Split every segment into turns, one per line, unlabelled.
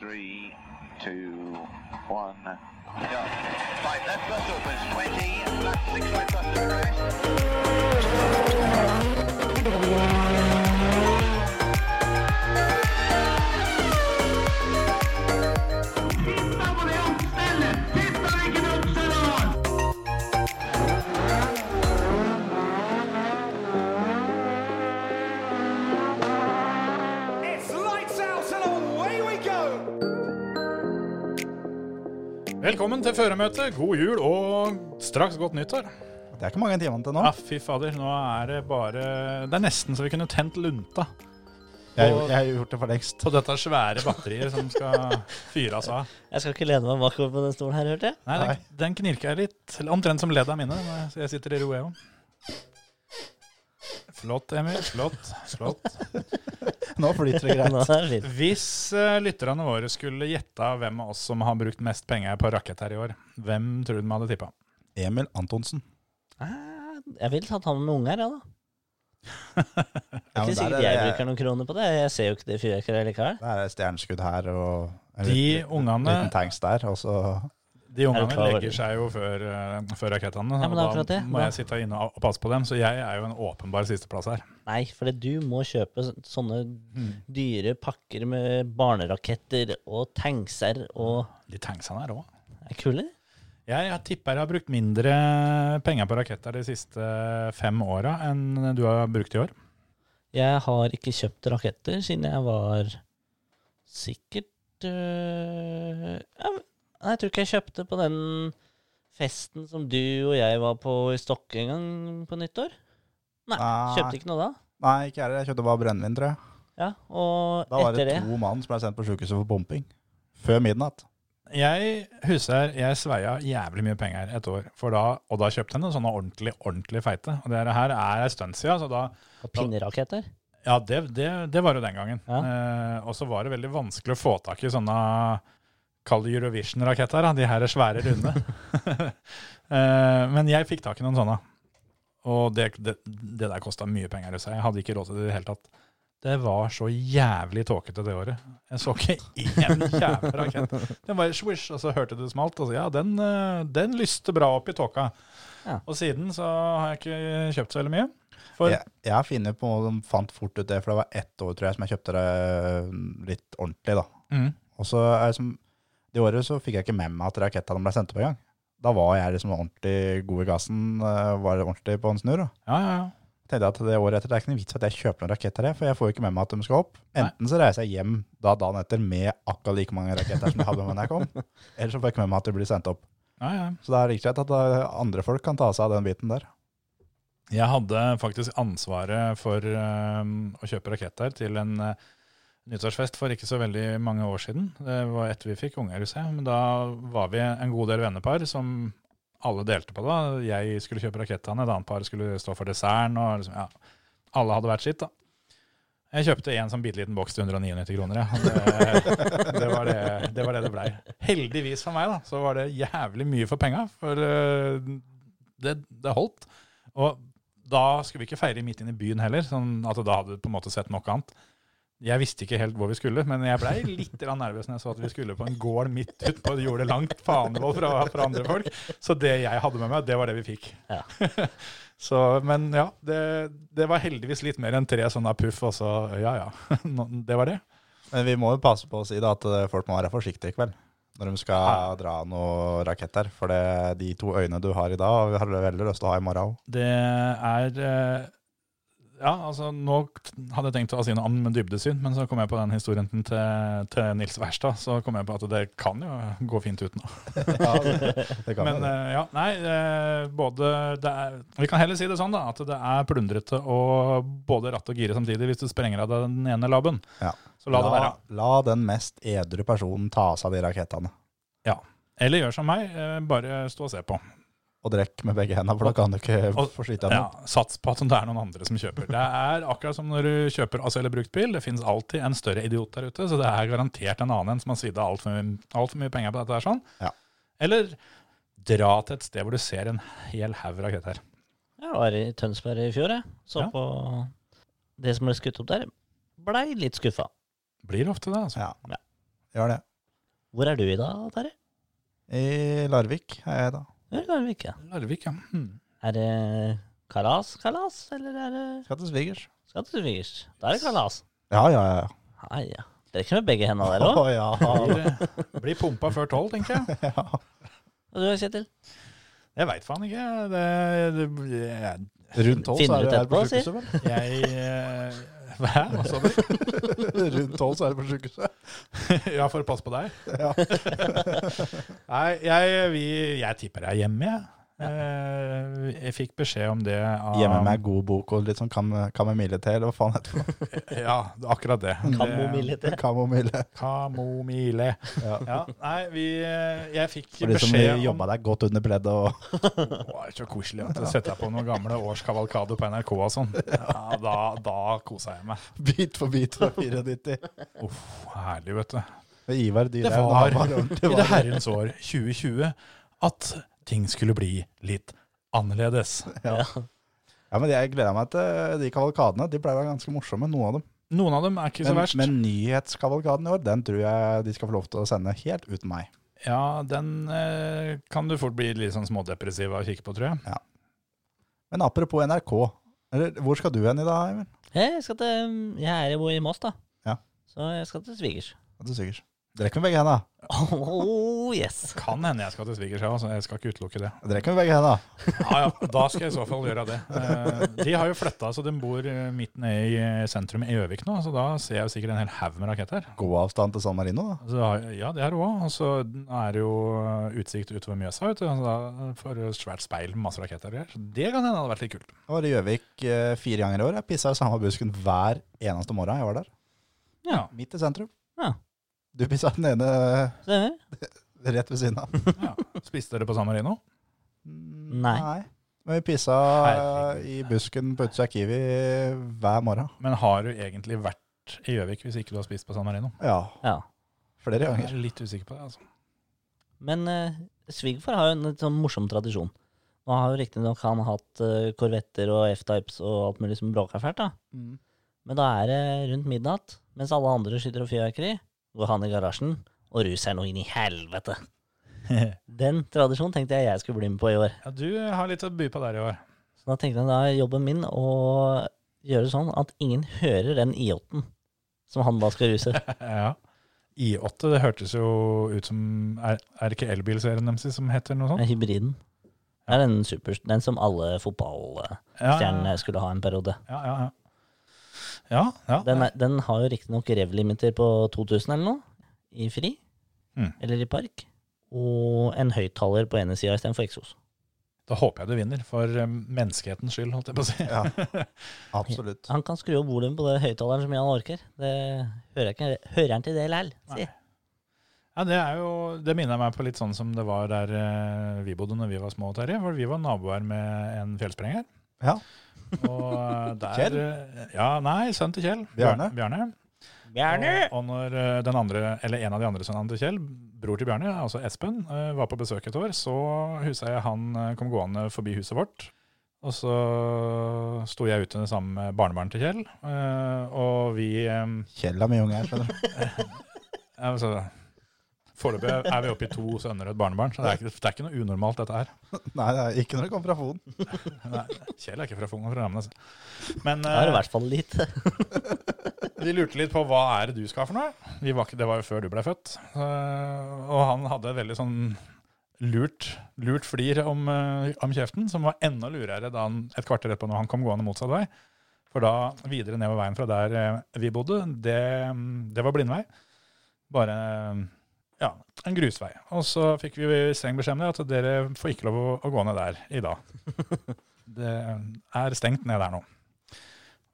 Three, two, one, go. Five left bus opens, 20, left six right bus to crest.
It's lights out and away we go!
Velkommen til føremøtet. God jul og straks godt nyttår.
Det er ikke mange timene til nå.
Ja, fy fader, nå er det bare Det er nesten så vi kunne tent lunta
Jeg, jeg har gjort det for lengst.
på dette svære batteriet som skal fyres av.
Jeg skal ikke lene meg bakover på den stolen her, hørte jeg.
Nei, den, den knirker jeg litt. Omtrent som ledda mine. når Jeg sitter i roeo. Flott, Emil. Flott. Flott.
Nå flyter det
Nå
greit.
er det fint.
Hvis eh, lytterne våre skulle gjette hvem av oss som har brukt mest penger på rakett her i år, hvem tror du de hadde tippa?
Emil Antonsen.
Jeg ville tatt han med unger, jeg, da. Det
Ja,
er
men
ikke sikkert jeg bruker noen kroner på det. Jeg ser jo ikke det fyrverkeriet likevel.
der er stjerneskudd her og en
De
liten-
ungene-
liten tanks der. Og så
De
Er du
ungene
klar over
legger
det?
seg jo før, eh, før rakettene,
Ja, men det er
og da
akkurat det.
må
Da-
jeg sitte inne og passe på dem. Så jeg er jo en åpenbar sisteplass her.
Nei, for du må kjøpe så- sånne
Hmm.
dyre pakker med barneraketter og tankser og
De tanksene her òg.
Er kule?
Jeg, jeg tipper jeg har brukt mindre penger på raketter de siste fem åra enn du har brukt i år.
Jeg har ikke kjøpt raketter siden jeg var sikkert øh, ja, men- Nei, jeg tror ikke jeg kjøpte på den festen som du og jeg var på i Stokke en gang på nyttår. Nei,
Nei.
kjøpte ikke noe da.
Nei, ikke jeg heller. Jeg kjøpte bare brennevin, tror jeg.
Ja, og
Da var
etter
det
det
to mann som ble sendt på sjukehuset for bomping. Før midnatt.
Jeg husker jeg sveia jævlig mye penger et år, for da, og da kjøpte jeg noen sånne ordentlig ordentlig feite. Og det her er en stund siden, så da
og pinneraketter.
Ja, det, det, det var det den gangen.
Ja.
Eh, og så var det veldig vanskelig å få tak i sånne Kall det Eurovision-raketter, da, de her er svære runde. eh, men jeg fikk tak i noen sånne. Og det, det, det der kosta mye penger. Så jeg hadde ikke råd til det i det hele tatt. Det var så jævlig tåkete det året. Jeg så ikke én jævla rakett. Den bare swish, og så hørte du det smalt. Og så ja, den, eh, den lyste bra opp i tåka.
Ja.
Og siden så har jeg ikke kjøpt så veldig mye. For
Jeg, jeg har funnet på De fant fort ut det, for det var ett år, tror jeg, som jeg kjøpte det øh, litt ordentlig, da.
mm,
Og så er det som Det året så fikk jeg ikke med meg at rakettene ble sendt opp engang. Da var jeg liksom ordentlig god i gassen, øh, var ordentlig på en snurr. da.
ja, ja, ja.
tenkte jeg at det året etter, det er ikke noe vits at jeg kjøper noen raketter her, for jeg får jo ikke med meg at de skal opp. Enten så reiser jeg hjem da dagen etter med akkurat like mange raketter som jeg hadde med da jeg kom, eller så får jeg ikke med meg at de blir sendt opp.
ja, ja.
Så det er like greit at eh, andre folk kan ta seg av den biten der.
Jeg hadde faktisk ansvaret for øhm, å kjøpe raketter til en øh, nyttårsfest for ikke så veldig mange år siden. Det var etter vi fikk unger, husker jeg. Men da var vi en god del vennepar som alle delte på. da. Jeg skulle kjøpe rakettene, et annet par skulle stå for desserten. og liksom, ja, Alle hadde hvert sitt. da. Jeg kjøpte en sånn bitte liten boks til 199 kroner. Ja. Det, det, var det, det var det det blei. Heldigvis for meg da, så var det jævlig mye for penga, for øh, det, det holdt. Og da skulle vi ikke feire midt inne i byen heller, sånn at da hadde du på en måte sett noe annet. Jeg visste ikke helt hvor vi skulle, men jeg blei litt grann nervøs når jeg så at vi skulle på en gård midt ute på jordet langt fanevoll fra, fra andre folk. Så det jeg hadde med meg, det var det vi fikk.
Ja.
så, men ja, det, det var heldigvis litt mer enn tre sånne puff, og så ja ja. Nå- Det var det.
Men vi må jo passe på å si da at eh, folk må være forsiktige i kveld når de skal dra noen raketter, for det, de to øynene du har i dag, har du veldig lyst til å ha i morgen også.
Det er eh, Ja, altså, nå t- hadde jeg tenkt å si noe om dybdesyn, men så kom jeg på den historien til, til Nils Wærstad. Så kom jeg på at det kan jo gå fint uten.
Ja, det, det kan
Men
men,
eh, ja, nei, eh, både det er, Vi kan heller si det sånn, da, at det er plundrete å både ratte og gire samtidig hvis du sprenger av den ene labben.
Ja.
Så la det være.
eh, La den mest edru personen ta seg av de rakettene,
Eller gjør som meg, eh, bare stå og se på.
og drekk med begge hendene, for da kan du ikke
Og-
forsyte deg.
Ja, sats på at det er noen andre som kjøper. Det er akkurat som når du kjøper altså, eller brukt bil, det finnes alltid en større idiot der ute, så det er garantert en annen en som har svidd av altfor alt for mye penger på dette her sånn.
Ja.
Eller dra til et sted hvor du ser en hel haug raketter.
Jeg var i Tønsberg i fjor, jeg. Så
Ja.
på det som ble skutt opp der. Blei litt skuffa.
Blir ofte det, altså.
Ja.
Ja.
Gjør det.
Hvor er du i dag, Terje?
I Larvik er jeg da.
Ja, Larvik, ja.
Larvik, ja. Hmm.
Er det kalas, kalas, eller er det
Skal til svigers.
skal til svigers? Da er det kalas.
Ja, ja, ja.
Nei, ja. Dere kommer med begge hendene der
Å,
òg.
ja.
Blir, blir pumpa før tolv, tenker jeg.
Og du, Kjetil?
Jeg veit faen ikke. Det, det, jeg,
Rundt tolv så
Finner
er
ut
det, er det på
etterpå, si.
sjukehuset, vel?
jeg eh, Hæ, hva sa du?
Rundt tolv så er det på sjukehuset.
Ja, for å passe på deg?
Ja.
Nei, jeg, vi, jeg tipper jeg er hjemme, jeg. Eh, Jeg fikk beskjed om det av
Hjemme med god bok og litt sånn kam kamomillete, eller hva faen heter det?
Ja, akkurat det. Eh,
Kamomille til.
Kamomille.
Kamomile.
Ja.
Ja, nei, vi, eh, jeg fikk
For de som
beskjed om
jobba deg godt under breddet og
Det var så koselig at jeg setter deg på noen gamle års kavalkade på NRK og sånn. Ja, da, da kosa jeg meg.
bit for bit fra 94.
Uff, herlig, vet du.
Det Ivar
Det
Dyrhaug
var
han ordentlig
i det herrens år 2020 at ting skulle bli litt annerledes.
Ja, men Jeg gleder meg til eh, de kavalkadene. De pleier å være ganske morsomme, noen av dem.
Noen av dem er ikke så
Men,
verst.
men nyhetskavalkaden i år, den tror jeg de skal få lov til å sende helt uten meg.
Ja, den eh, kan du fort bli litt sånn smådepressiv av å kikke på, tror jeg.
Men apropos NRK. Eller, hvor skal du hen i dag, Emil?
Hei, Jeg, skal til, um, jeg er jo i Moss, da.
Ja.
Så jeg skal til svigers.
Ja, Du sikkert. Drekk med begge henda.
Oh, yes!
Kan hende jeg skal til svigers, jeg også, jeg skal ikke utelukke det.
Drekk med begge henda.
Ja, ja, Da skal jeg i så fall gjøre det. Eh, De har jo flytta, så de bor eh, midt nede i eh, sentrum i Gjøvik nå, så da ser jeg jo sikkert en hel haug med raketter.
God avstand til San Marino, da.
Så, har- ja, det har du òg. Og så er det jo eh, utsikt utover Mjøsa, vet du. Så da får du et svært speil med masse raketter og greier. Så det kan hende hadde vært litt kult.
Jeg var i Gjøvik eh, fire ganger i år. Jeg pissa i samme busken hver eneste morgen jeg var der.
Ja.
Midt i sentrum.
Ja.
Du pissa den ene eh,
Stemmer.
rett ved siden av.
ja. Spiste dere på San Marino?
Nei.
Men vi pissa
Herregud.
i busken på utsida av Kiwi hver morgen.
Men har du egentlig vært i Gjøvik hvis ikke du har spist på San Marino?
Ja,
Ja.
flere
Jeg
ganger.
er litt usikker på det. altså.
Men eh, svigerfar har jo en litt sånn morsom tradisjon. Nå har jo riktignok han hatt eh, korvetter og F-types og alt mulig som bråker fælt, da.
Mm.
Men da er det rundt midnatt, mens alle andre skyter opp fyrverkeri, går han i garasjen og ruser noe inn i helvete. Den tradisjonen tenkte jeg jeg skulle bli med på i år.
Ja, Du har litt å by på der i år.
Så da tenkte jeg da er jobben min å gjøre sånn at ingen hører den I8-en som han da skal ruse.
Ja. I8 det hørtes jo ut som Er, er det ikke elbilserien deres som heter noe
Det
sånt?
er hybriden. Det er den, super, den som alle fotballstjernene
Ja,
skulle ha en periode.
ja, ja. ja. ja, ja.
Den, er, den har jo riktignok revlimiter på 2000 eller noe, i fri,
Mm.
eller i park. Og en høyttaler på ene sida istedenfor eksos.
Da håper jeg du vinner, for eh, menneskehetens skyld, holdt jeg på å si.
Ja, absolutt.
Han kan skru opp volumet på den høyttaleren så mye han orker. Det hører, jeg ikke, hører han til det lell, si.
Ja, Det er jo, det minner meg på litt sånn som det var der eh, vi bodde når vi var små, Terje. For vi var naboer med en fjellsprenger.
Ja.
Og eh, der
Kjell?
eh, Ja, nei, sønnen til Kjell.
Bjarne?
Bjarne. Og, og når eh, den andre, eller en av de andre sønnene til Kjell, bror til Bjarne, altså Espen, eh, var på besøk et år, så huset jeg han eh, kom gående forbi huset vårt. Og så sto jeg ute sammen med barnebarnet til Kjell, eh, og vi eh,
Kjell har mye unger, skjønner du.
altså, Foreløpig er vi oppe i to sønner og et barnebarn, så det er ikke, det er ikke noe unormalt, dette her.
Nei, det er ikke når det kommer fra Fon.
Nei, Kjell er ikke fra Fung, han er fra Ramnes. Men
Da er det i
eh,
hvert fall litt.
De lurte litt på hva er det du skal for noe. Vi var, ikke- det var jo før du ble født. Eh, og han hadde et veldig sånn lurt, lurt flir om, eh, om kjeften, som var enda lurere da han, et kvarter etterpå når han kom gående motsatt vei. For da, videre nedover veien fra der eh, vi bodde, det, mm, det var blindvei. Bare eh, ja, en grusvei. Og så fikk vi streng beskjed om det, at dere får ikke lov å, å gå ned der i dag. Det er stengt ned der nå.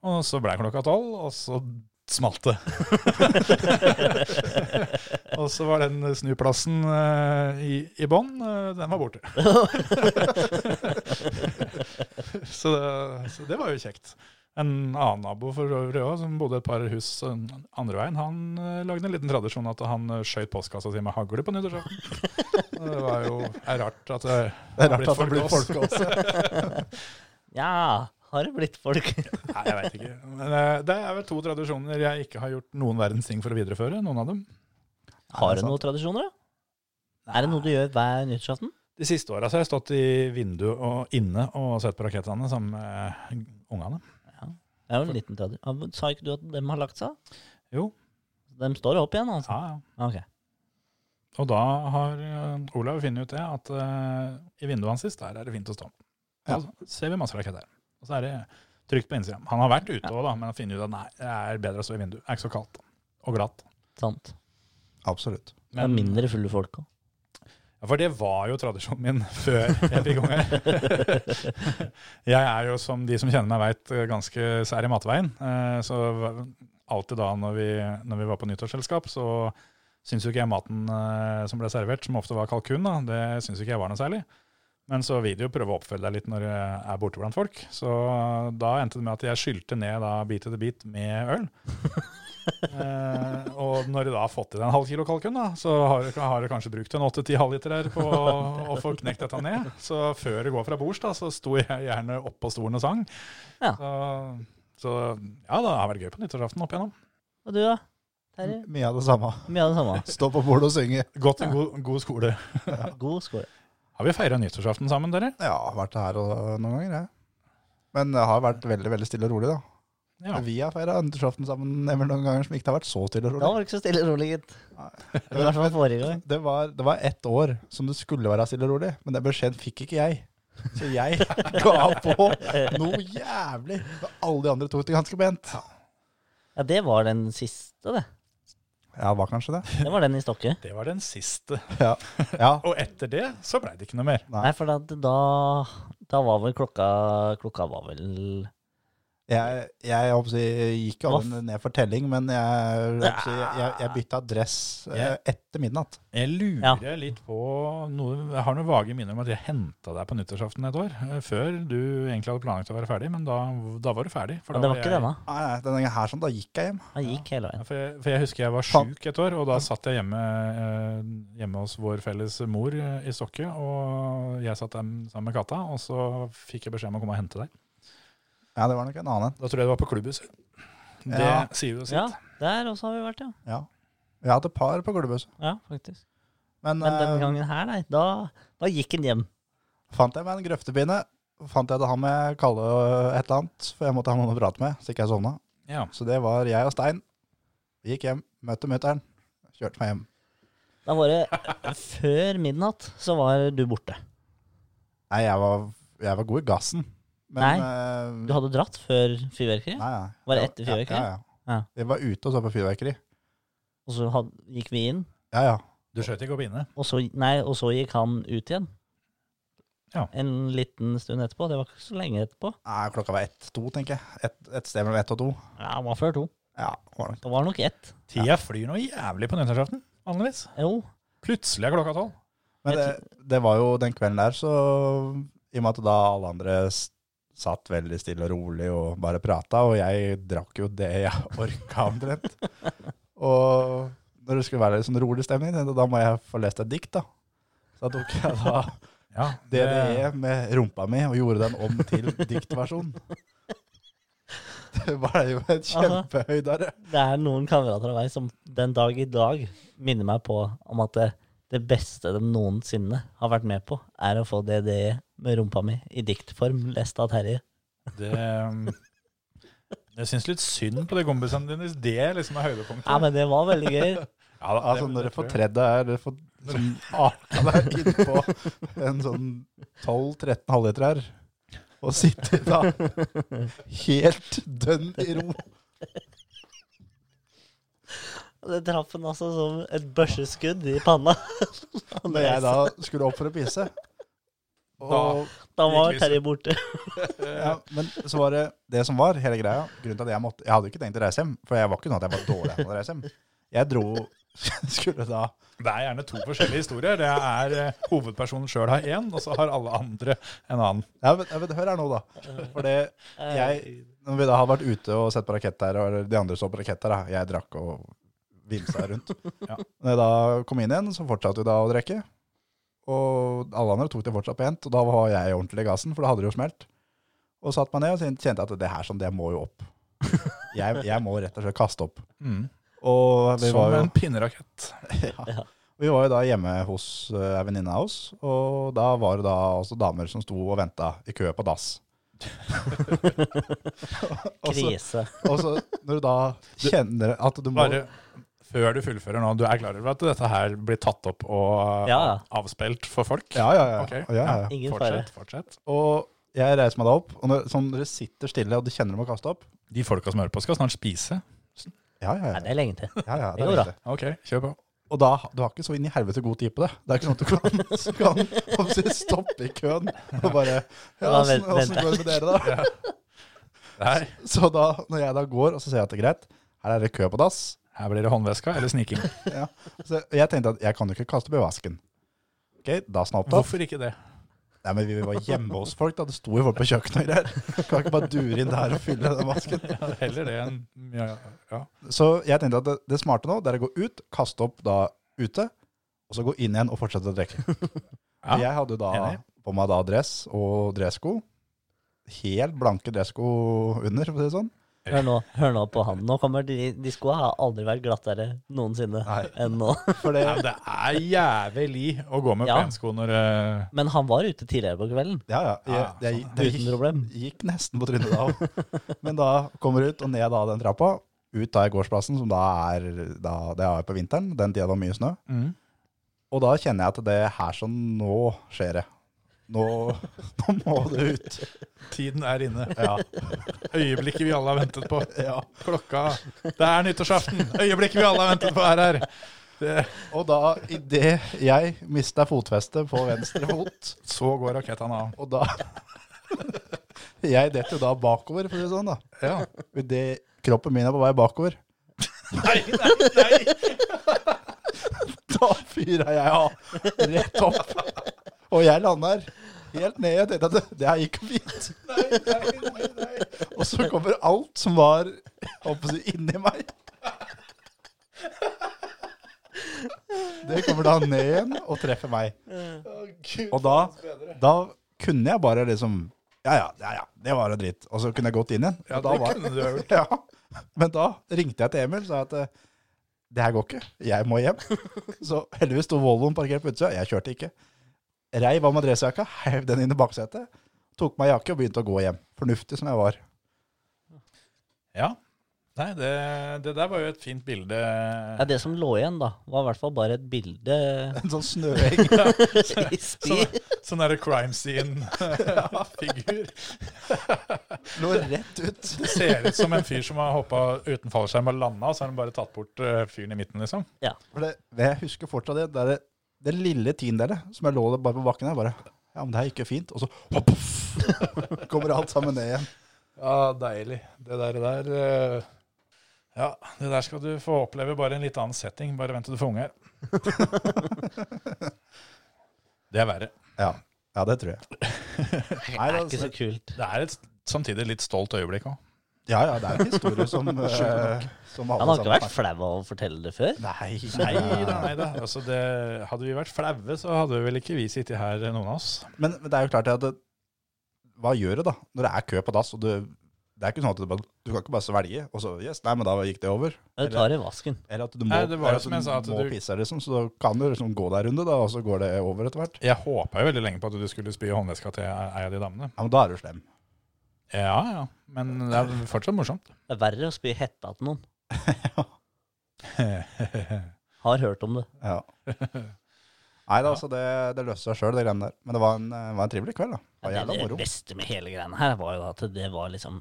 Og så ble klokka tolv, og så smalt det. og så var den snuplassen eh, i, i bånn, eh, den var borte. så, det, så det var jo kjekt. En annen nabo for øvrig også, som bodde et par hus eh, andre veien, han eh, lagde en liten tradisjon at han eh, skjøt postkassa si med hagle på nyttårsaften. Og det var jo er rart at eh, det,
Det er rart at det blir
folkeås.
folkeås.
Ja, har det blitt folk?
Nei, jeg vet ikke. Men eh, det er vel to tradisjoner jeg ikke har gjort noen verdens ting for å videreføre. Noen av dem.
Har
det
du
sant?
noen tradisjoner, da? Er det noe du gjør hver nyttårsaften?
De siste åra har jeg stått i vinduet og inne og sett på rakettene sammen med ungene.
Det er jo en liten tradisjon. Sa ikke du at dem har lagt seg?
Jo.
De står opp igjen, altså?
Ja, ja.
Ok.
Og da har eh, Olav funnet ut det, at eh, i vinduet hans sist, der er det fint å stå. Da ser vi masse raketter. Og så er det trygt på innsida. Han har vært ute òg, da, men har funnet ut at nei, det er bedre å stå i vinduet. Det er ikke så kaldt og glatt.
Sant.
Absolutt.
Det er mindre fulle folk òg.
Ja, For det var jo tradisjonen min før jeg fikk unger. jeg er jo, som de som kjenner meg veit, ganske sær i matveien. Eh, Så alltid da når vi, når vi var på nyttårsselskap, så syns jo ikke jeg maten eh, som ble servert, som ofte var kalkun, da, det syns jo ikke jeg var noe særlig. Men så vil de jo prøve å oppfølge deg litt når du er borte blant folk. Så da endte det med at jeg skylte ned da bit etter bit med øl. Eh, og når du da har fått i deg en halv kilo kalkun, da, så har du, har du kanskje brukt en åtte-ti halvliter her på å, å få knekt dette ned. Så før det går fra bords, da, så sto jeg gjerne oppå stolen og sang.
Ja.
Så, så ja, det har vært gøy på nyttårsaften opp igjennom.
Og du, da? Terje?
Mye av det samme.
Mm.
Mye av det samme.
Stå på bordet og synge.
Gått en god, god skole.
God skål.
Har vi feira nyttårsaften sammen, dere?
Ja, vært her og, noen ganger, jeg. Men det har vært veldig veldig stille og rolig, da.
Ja.
Vi har feira nyttårsaften sammen Emil, noen ganger som ikke har vært så stille og
Da
rolig.
var det ikke så stille og rolig, gitt. I hvert fall forrige gang.
Det var, det var ett år som det skulle være stille og rolig, men den beskjeden fikk ikke jeg. Så jeg ga på noe jævlig. Men alle de andre tok det ganske pent.
Ja, det var den siste, det.
Ja, var kanskje det.
Det var den i Stokke.
Det var den siste.
Ja. ja.
Og etter det så blei det ikke noe mer.
Nei.
Nei, for da, da, da var vel klokka Klokka var vel
Jeg, jeg, håper å si, jeg gikk
Hva
aldri ned for telling, men jeg, håper å si, jeg, jeg bytta dress eh, etter midnatt.
Jeg lurer litt på noe, Jeg har noen vage minner om at jeg henta deg på nyttårsaften et år. eh, Før du egentlig hadde planlagt å være ferdig, men da, da var du ferdig. For
Men
da
det var ikke
jeg-
denne.
Nei, nei, denne gangen her sånn, da gikk jeg hjem.
Han gikk
Ja,
hele veien.
for, jeg, for jeg husker jeg var
Faen.
sjuk et år, og da satt jeg hjemme, eh, hjemme hos vår felles mor eh, i Stokke. Og jeg satt der sammen med katta, og så fikk jeg beskjed om å komme og hente deg.
Ja, det var nok en annen.
Da tror jeg det var på klubbhuset. Det
Ja.
sier jo sitt.
Ja, der også har vi vært, ja.
Ja. Vi hadde et par på klubbhuset.
Ja, faktisk.
Men,
Men den
eh,
gangen her, nei. Da, da gikk han hjem.
fant jeg meg en grøftepinne. Fant jeg det han med Kalle og et eller annet, for jeg måtte ha noen å prate med, så ikke jeg sovna.
Ja.
Så det var jeg og Stein. Vi gikk hjem, møtte mutter'n, kjørte meg hjem.
Da var det eh, før midnatt, så var du borte.
Nei, jeg var, jeg var god i gassen.
Nei,
eh,
Du hadde dratt før fyrverkeriet,
nei, nei.
Var det etter fyrverkeri?
Ja, ja. ja.
Ja.
Vi var ute og så på fyrverkeri.
og så had, gikk vi inn,
Ja, ja.
Du skjøt ikke opp inne.
og så, nei, og så gikk han ut igjen.
Ja.
En liten stund etterpå. Det var ikke så lenge etterpå.
Nei, klokka var ett-to, tenker jeg. Et, et sted mellom ett og to.
Ja, det var før to.
Ja, var det.
Det var nok ett.
Tida flyr noe jævlig på nyttårsaften, vanligvis.
Jo.
Plutselig er klokka tolv.
Men det,
Jeg
det var jo den kvelden der, så i og med at da alle andre s- satt veldig stille og rolig og bare prata, og jeg drakk jo det jeg orka omtrent. og når det skulle være litt sånn rolig stemning, tenkte jeg, da må jeg få lest et dikt, da. Så da tok jeg da
Ja,
DDE med rumpa mi og gjorde den om til diktversjon. Det var jo en kjempehøydare.
Det er noen kamerater av meg som den dag i dag minner meg på om at det, det beste de noensinne har vært med på, er å få DDE med rumpa mi i diktform lest av Terje.
det, jeg syns litt synd på de kompisene dine hvis det liksom er høydepunktet.
Ja, men det var veldig gøy.
Ja, da,
Altså,
det-
når du
det
får
tror jeg.
tredd deg eller får sånn som arta deg innpå en sånn 12-13 halvliter her, og sitter da helt dønn i ro
Det traff han altså som et børseskudd i panna.
når jeg da skulle opp for å pisse. Og,
Da var
Virkelig så-
Terje borte.
eh,
ja, men så var det det som var hele greia. Grunnen til at Jeg måtte, jeg hadde jo ikke tenkt å reise hjem, for jeg var ikke sånn at jeg var dårlig på å reise hjem. Jeg dro skulle da
Det er gjerne to forskjellige historier. Det er eh, Hovedpersonen sjøl har én, og så har alle andre en annen.
ja, men, ja, men Hør her nå, da. For det jeg, når vi da hadde vært ute og sett på raketter, og de andre så på raketter, da, jeg drakk og vimsa rundt.
Ja.
Når jeg da kom inn igjen, så fortsatte vi da å drikke. Og alle andre tok det fortsatt pent, og da var jeg ordentlig i gassen, for da hadde det jo smelt. Og satt meg ned og kjente at det her sånn, det må jo opp. Jeg, jeg må rett og slett kaste opp.
Mm.
Og vi
Som
var,
en
jo,
pinnerakett.
vi var jo da hjemme hos eh, ei venninne av oss, og da var det da også damer som sto og venta i kø på dass. Og så-
Krise.
og så når du da kjenner at du må
Bare før du fullfører nå, du er klar over at dette her blir tatt opp og
Ja.
avspilt for folk?
Ja, ja, ja.
Ok.
ja, ja.
Ingen fare.
Fortsett, fortsett.
Og jeg reiser meg da opp, og når, sånn, når du sitter stille og du kjenner du må kaste opp
De folka som hører på, skal snart spise.
Ja, ja,
Nei,
ja.
det er lenge til.
ja, ja det
går
er
bra.
riktig.
Ok, kjør på.
Og da, du har ikke så inn i helvete god tid på det. Det er ikke sånn at du kan, så kan hva skal jeg si, stoppe i køen og bare Ja,
Da
åssen
vent-
åssen
venter
går det med dere, da?
Nei,
Så da, når jeg da går, og så ser jeg at det er greit, her er det kø på dass.
her blir det håndveska eller sniking.
Ja. Så jeg tenkte at jeg kan jo ikke kaste opp i vasken. Ok, Dassen er opptatt.
Hvorfor ikke det?
Nei, men vi var hjemme hos folk, da. Det sto jo folk på kjøkkenet og greier. Kan ikke bare dure inn der og fylle den vasken.
Ja, heller det enn ja, ja.
Så jeg tenkte at det, det smarte nå, det er å gå ut, kaste opp da ute, og så gå inn igjen og fortsette å drikke.
Ja,
Jeg hadde da
enig.
på meg da dress og dressko. Helt blanke dressko under, for å si det sånn.
Hør nå, hør nå på han. Nå kommer de, de skoene har aldri vært glattere noensinne
Nei.
enn nå.
For det,
Nei, men det er jævlig å gå med
Ja.
pensko når eh,
Men han var ute tidligere på kvelden.
ja, ja, jeg,
Ja,
det,
sånn.
det
Uten
gikk,
problem.
gikk nesten på trynet da òg. Men da kommer jeg ut og ned da den trappa. Ut da i gårdsplassen, som da er da, det er på vinteren, den tida det var mye snø.
Mhm.
Og da kjenner jeg at det er her som nå skjer det. Nå, nå må du ut.
Tiden er inne. Øyeblikket vi alle har ventet på.
Ja.
Klokka Det er nyttårsaften! Øyeblikket vi alle har ventet på er her. Det,
Og da, idet jeg mista fotfestet på venstre fot,
så går rakettene av.
og da Jeg detter jo da bakover, for å si det sånn. da.
Ja.
Idet kroppen min er på vei bakover,
Nei, nei, nei!
da fyrer jeg av rett opp. Og jeg lander helt ned. Jeg tenkte at det- det her gikk fint. Og så kommer alt som var oppe inni meg. Det kommer da ned igjen og treffer meg. Og da, da kunne jeg bare liksom Ja, ja, ja, ja det var jo dritt. Og så kunne jeg gått inn igjen.
Ja,
og da
det
var,
kunne du ha gjort.
Ja. Men da ringte jeg til Emil og sa at eh, det her går ikke, jeg må hjem. Så heldigvis sto Volvoen parkert på utsida, jeg kjørte ikke. Reiv av meg dressjakka, heiv den inn i baksetet, tok meg jakke og begynte å gå hjem. Fornuftig som jeg var.
Ja. Nei, det, det der var jo et fint bilde.
Ja, det som lå igjen, da, var i hvert fall bare et bilde
En sånn snøheng.
i sti.
altså-
Sånn derre crime scene-figur.
Lå rett ut.
Det ser ut som en fyr som har hoppa uten fallskjerm og landa, og så har han bare tatt bort eh, fyren i midten, liksom.
For det, det jeg husker fortsatt det, det er det, det lille tiendelet som jeg lå der bare på bakken her, bare Ja, men det her gikk jo fint. Og så hopp, poff, kommer alt sammen ned igjen.
Ja, deilig. Det der, der eh, Ja, det der skal du få oppleve bare i en litt annen setting. Bare vent til du får unger. det er verre.
Ja, ja det tror jeg.
Det
Nei,
er
altså.
ikke så kult.
Det er et samtidig litt stolt øyeblikk òg.
Ja, ja, det er en historie som, eh, som alle
Han har ikke
sammen
vært flau av å fortelle det før.
Nei,
Nei da, nei da. Altså, det, hadde vi vært flaue, så hadde vel ikke vi sittet her, eh, noen av oss.
Men, men det er jo klart at det, Hva gjør du da, når det er kø på dass? og du, Det er ikke sånn at du, bare, du kan ikke bare svelge, og så yes, nei, men da gikk det over.
Du tar i vasken.
Eller at du må,
Nei, det var jo
eller at
som
du
jeg sa, at
må
du-
pisse, liksom, så da kan du liksom gå deg en runde, da, og så går det over etter hvert.
Jeg håpa jo veldig lenge på at du skulle spy i håndveska til ei av de damene.
Ja, men da er du slem.
Ja, ja. Men det er fortsatt morsomt.
Det er verre å spy i hetta til noen.
ja,
Har hørt om det.
Ja. Nei da, altså, det, det løste seg sjøl, det greiene der. Men det var en, eh, var en trivelig kveld, da. Det var
Ja,
jævla
det, det
moro.
beste med hele greiene her var jo at det var liksom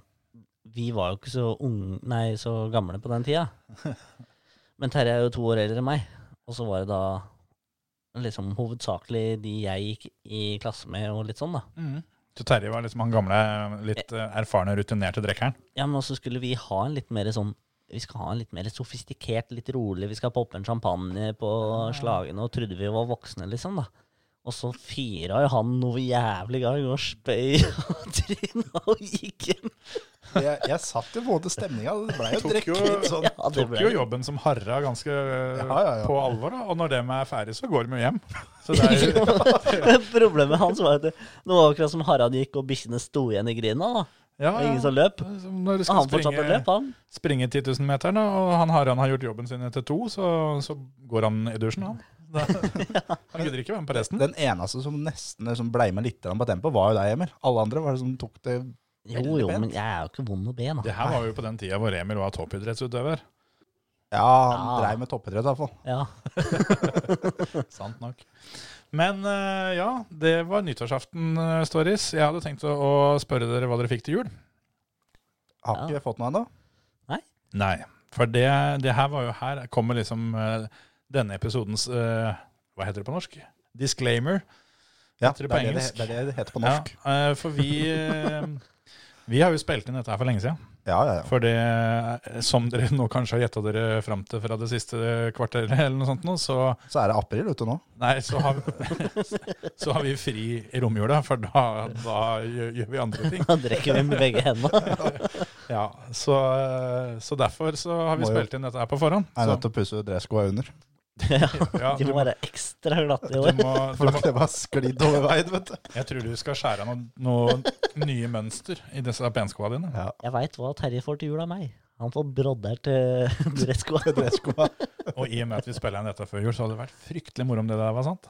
Vi var jo ikke så unge, nei, så gamle på den tida. Men Terje er jo to år eldre enn meg, og så var det da liksom hovedsakelig de jeg gikk i klasse med og litt sånn, da.
Så Terje var liksom han gamle, litt eh, erfarne, rutinerte drikkeren.
Ja, men også skulle vi ha en litt mer sånn Vi skal ha en litt mer sofistikert, litt rolig, vi skal poppe en champagne på slagene, og trodde vi var voksne, liksom, da. Og så fyra jo han noe jævlig gang og spøy og tryna og gikk hjem.
Jeg, jeg satt jo på en måte stemninga. Det blei jo
Tok jo-
drikke litt sånn.
Ja, det
Tok
ble
jo jobben som harra ganske eh,
Ja, ja, ja.
på alvor, da. Og når dem er ferdig, så går de jo hjem. Så det er jo
Men Problemet hans var at det, det var akkurat som Harald gikk og bikkjene sto igjen i grina. da.
Ja,
Det var ingen som løp.
Som Når du
Og
skal
han fortsatte å
springe,
løpe, han.
springe 10 000-meterne, og han Haran har gjort jobben sin etter to, så, så går han i dusjen, han. Da, han gidder ikke være med på resten.
Den eneste som nesten liksom ble med litt grann på tempo, var jo deg, Emil. Alle andre var det som tok det
Jo,
Veldig
jo,
pent.
men jeg er jo ikke vond å be, da.
Det her var jo på den tida hvor Emil var toppidrettsutøver.
Ja, han
Ja.
dreiv med toppidrett, i hvert fall.
Ja.
Sant nok. Men eh, ja, det var nyttårsaften-stories. Jeg hadde tenkt å, å spørre dere hva dere fikk til jul.
Har
Ja.
ikke fått noe ennå.
Nei, for det, det her var jo her kommer liksom eh, denne episodens eh, Hva heter det på norsk? Disclaimer.
Ja,
Heter det
det
på
er det,
engelsk?
det er det det heter på norsk.
Ja, eh, for vi eh, Vi har jo spilt inn dette her for lenge siden.
Ja, ja, ja.
For det, eh, som dere nå kanskje har gjetta dere fram til fra det siste kvarteret, eller noe sånt, nå, så
Så er det april ute nå.
Nei, så har, så har vi fri i romjula, for da, da gjør gjør vi andre ting.
Da drikker vi med begge hendene.
Ja, så, eh, så derfor så har vi
Må jo-
spilt inn dette her på forhånd.
Er
Så,
nødt til å pusse dresskoa under.
Ja,
ja, du,
de må være ekstra glatte i
du
år.
må, du
For
må,
det var sklidd over veien, vet du.
jeg tror du skal skjære av noen noen nye mønster i disse penskoa dine.
Ja,
Jeg veit hva Terje får til jul av meg. Han får eh, brodder til dresskoa.
dresskoa.
Og i og med at vi spiller inn dette før jul, så hadde det vært fryktelig moro om det der var sant.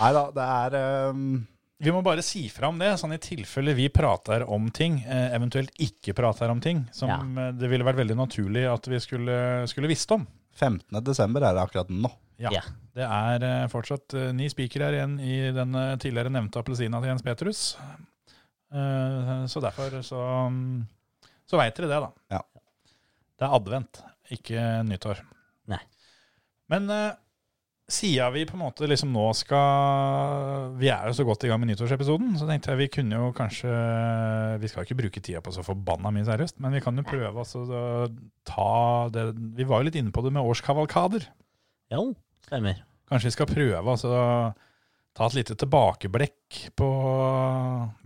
Nei da, det er ehm,
Vi må bare si fra om det, sånn i tilfelle vi prater om ting, eh, eventuelt ikke prater om ting, som
Ja.
eh, det ville vært veldig naturlig at vi skulle, skulle visst om.
15. desember er det akkurat nå.
Ja.
Ja.
Det er eh, fortsatt eh, ni spikere her igjen i den eh, tidligere nevnte appelsina til Jens Petrus. Eh, så derfor så, mm, så veit dere det, da.
Ja.
Det er advent, ikke nyttår.
Nei.
Men eh, sida vi på en måte liksom nå skal Vi er jo så godt i gang med nyttårsepisoden, så tenkte jeg vi kunne jo kanskje Vi skal ikke bruke tida på så forbanna mye seriøst, men vi kan jo prøve altså å ta det Vi var jo litt inne på det med årskavalkader.
Jo, stemmer.
Kanskje vi skal prøve altså, ta et lite tilbakeblikk på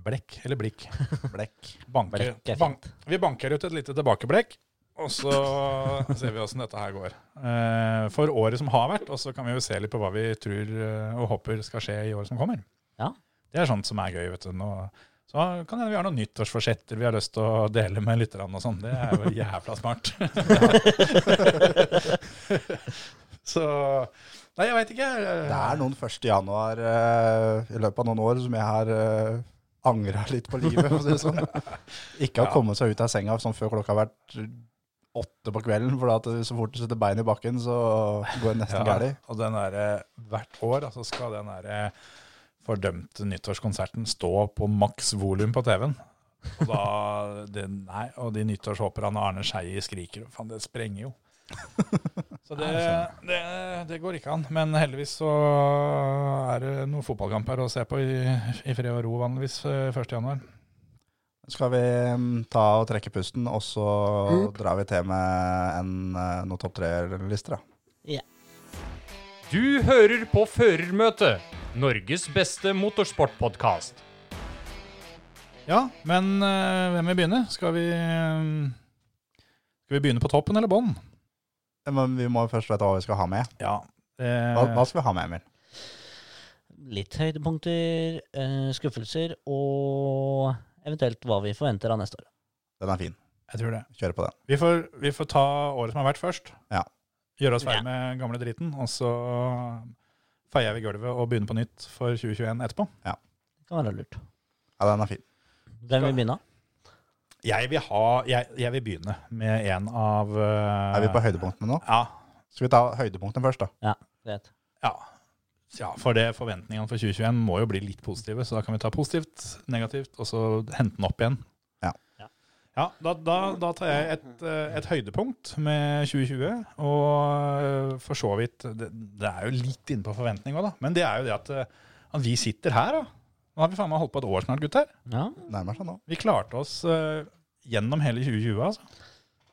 Blekk eller blikk?
Blekk.
Banker,
Blekk er
bank,
fint.
vi banker ut et lite tilbakeblikk, og så ser vi åssen dette her går. Eh, for året som har vært, og så kan vi jo se litt på hva vi tror eh, og håper skal skje i året som kommer.
Ja.
Det er sånt som er gøy, vet du. Nå, så kan hende vi har noen nyttårsforsetter vi har lyst til å dele med lytterne og sånn. Det er jo jævla smart. så Nei, jeg veit ikke.
Det er noen 1. januar eh, i løpet av noen år som jeg har uh, angra litt på livet. for å si det sånn. Ikke har
Ja.
kommet seg ut av senga sånn før klokka har vært åtte på kvelden, for at så fort du setter bein i bakken, så går det nesten
Ja,
gærent.
og den der, hvert år altså, skal den der fordømte nyttårskonserten stå på maks volum på TV-en. Og, da, det, nei, og de nyttårshåperne Arne Skeie skriker, faen, det sprenger jo. Så det, det, det går ikke an. Men heldigvis så er det noen fotballkamper å se på i, i fred og ro vanligvis eh, 1. januar.
Skal vi mm, ta og trekke pusten, og så
Mm.
drar vi til med en, eh, noen topp tre-lister, da.
Du hører på Førermøtet, Norges beste motorsportpodkast.
Ja, men eh, hvem vil begynne? Skal vi, eh, skal vi begynne på toppen eller bånn?
Men vi må først vite hva vi skal ha med.
Ja. Eh,
Hva, hva skal vi ha med, Emil?
Litt høydepunkter, eh, skuffelser og eventuelt hva vi forventer av neste år.
Den er fin.
jeg tror det.
Kjør på den.
Vi får, vi får ta året som har vært først.
Ja.
Gjøre oss ferdig
Ja.
med gamle driten, og så feier vi gulvet og begynner på nytt for 2021 etterpå.
Det kan være lurt.
Ja, den er fin.
Hvem vil begynne?
Jeg vil, ha, jeg, jeg vil begynne med en av
Er
Eh.
vi på høydepunktene nå?
Ja,
Skal vi ta høydepunktene først, da?
Greit.
ja. ja, for det forventningene for 2021 må jo bli litt positive, så da kan vi ta positivt, negativt, og så hente den opp igjen.
Ja.
Ja.
Ja, da, da, da tar jeg et, eh, et høydepunkt med 2020, og eh, for så vidt Det, det er jo litt inne på forventning òg, da. Men det er jo det at, eh, at vi sitter her, da. Nå har vi faen meg holdt på et år snart, gutter.
Ja,
Nærmer seg nå.
Vi klarte oss eh, gjennom hele 2020, altså.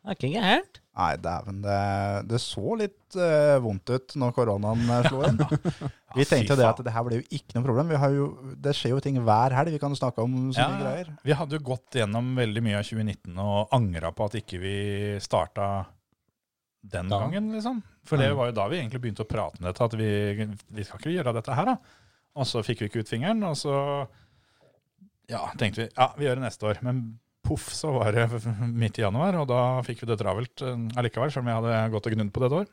det er ikke gærent.
Nei, dæven, det, det så litt eh, vondt ut når koronaen eh, slo inn. Vi
fy
tenkte jo det
faen.
at det her ble jo ikke noe problem. Vi har jo, det skjer jo ting hver helg. Vi kan jo snakke om
Ja,
sånne greier.
vi hadde jo gått gjennom veldig mye av 2019 og angra på at ikke vi starta den
Da.
gangen, liksom. For det var jo da vi egentlig begynte å prate om dette, at vi, vi skal ikke gjøre dette her, da. Og så fikk vi ikke ut fingeren, og så ja, tenkte vi ja, vi gjør det neste år. Men poff, så var det midt i januar, og da fikk vi det travelt eh, allikevel, selv om jeg hadde gått og gnudd på det et år.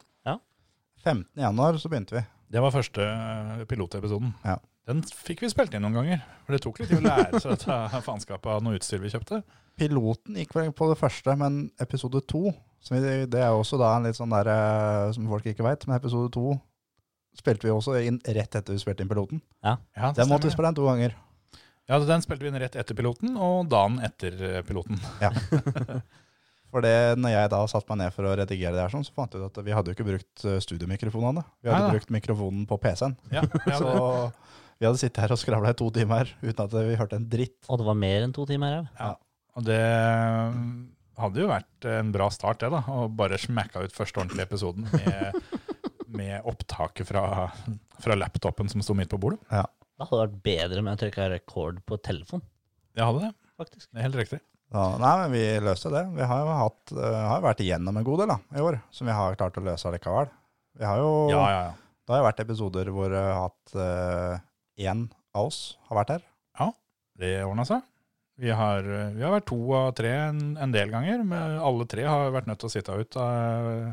15. januar så begynte vi.
Det var første eh, pilotepisoden.
Ja.
Den fikk vi spilt inn noen ganger. For det tok litt tid å lære seg dette faenskapet av noe utstyr vi kjøpte.
Piloten gikk vel på det første, men episode to som vi, Det er jo også da en litt sånn der eh, som folk ikke veit, men episode to spilte vi også inn rett etter vi spilte inn piloten.
Ja, det
Den
stemmer.
måtte vi spille inn to ganger.
Ja, så Den spilte vi inn rett etter piloten, og dagen etter eh, piloten.
For det, når jeg da satte meg ned for å redigere det her, sånn, så fant jeg ut at vi hadde jo ikke brukt eh, studiomikrofonene. Vi hadde
Neida.
brukt mikrofonen på PC-en.
Ja, ja,
Så
det,
vi hadde sittet her og skravla i to timer uten at vi hørte en dritt.
Og det var mer enn to timer her.
ja. Og det mm, hadde jo vært en bra start, det, da. Å bare smakka ut første ordentlige episoden med, med opptaket fra, fra laptopen som sto midt på bordet.
Det hadde vært bedre om jeg trykka rekord på telefon,
Jeg hadde det.
faktisk.
Det er helt riktig.
Ja, nei, men vi løste det. Vi har jo hatt, eh, har jo vært igjennom en god del da, i år, som vi har klart å løse allikevel. Vi har jo,
Ja, ja, ja.
Det har jo vært episoder hvor eh, hatt eh, én av oss har vært her.
Det ordna seg. Vi har, eh, vi har vært to av tre en, en del ganger. Men alle tre har vært nødt til å sitte ut av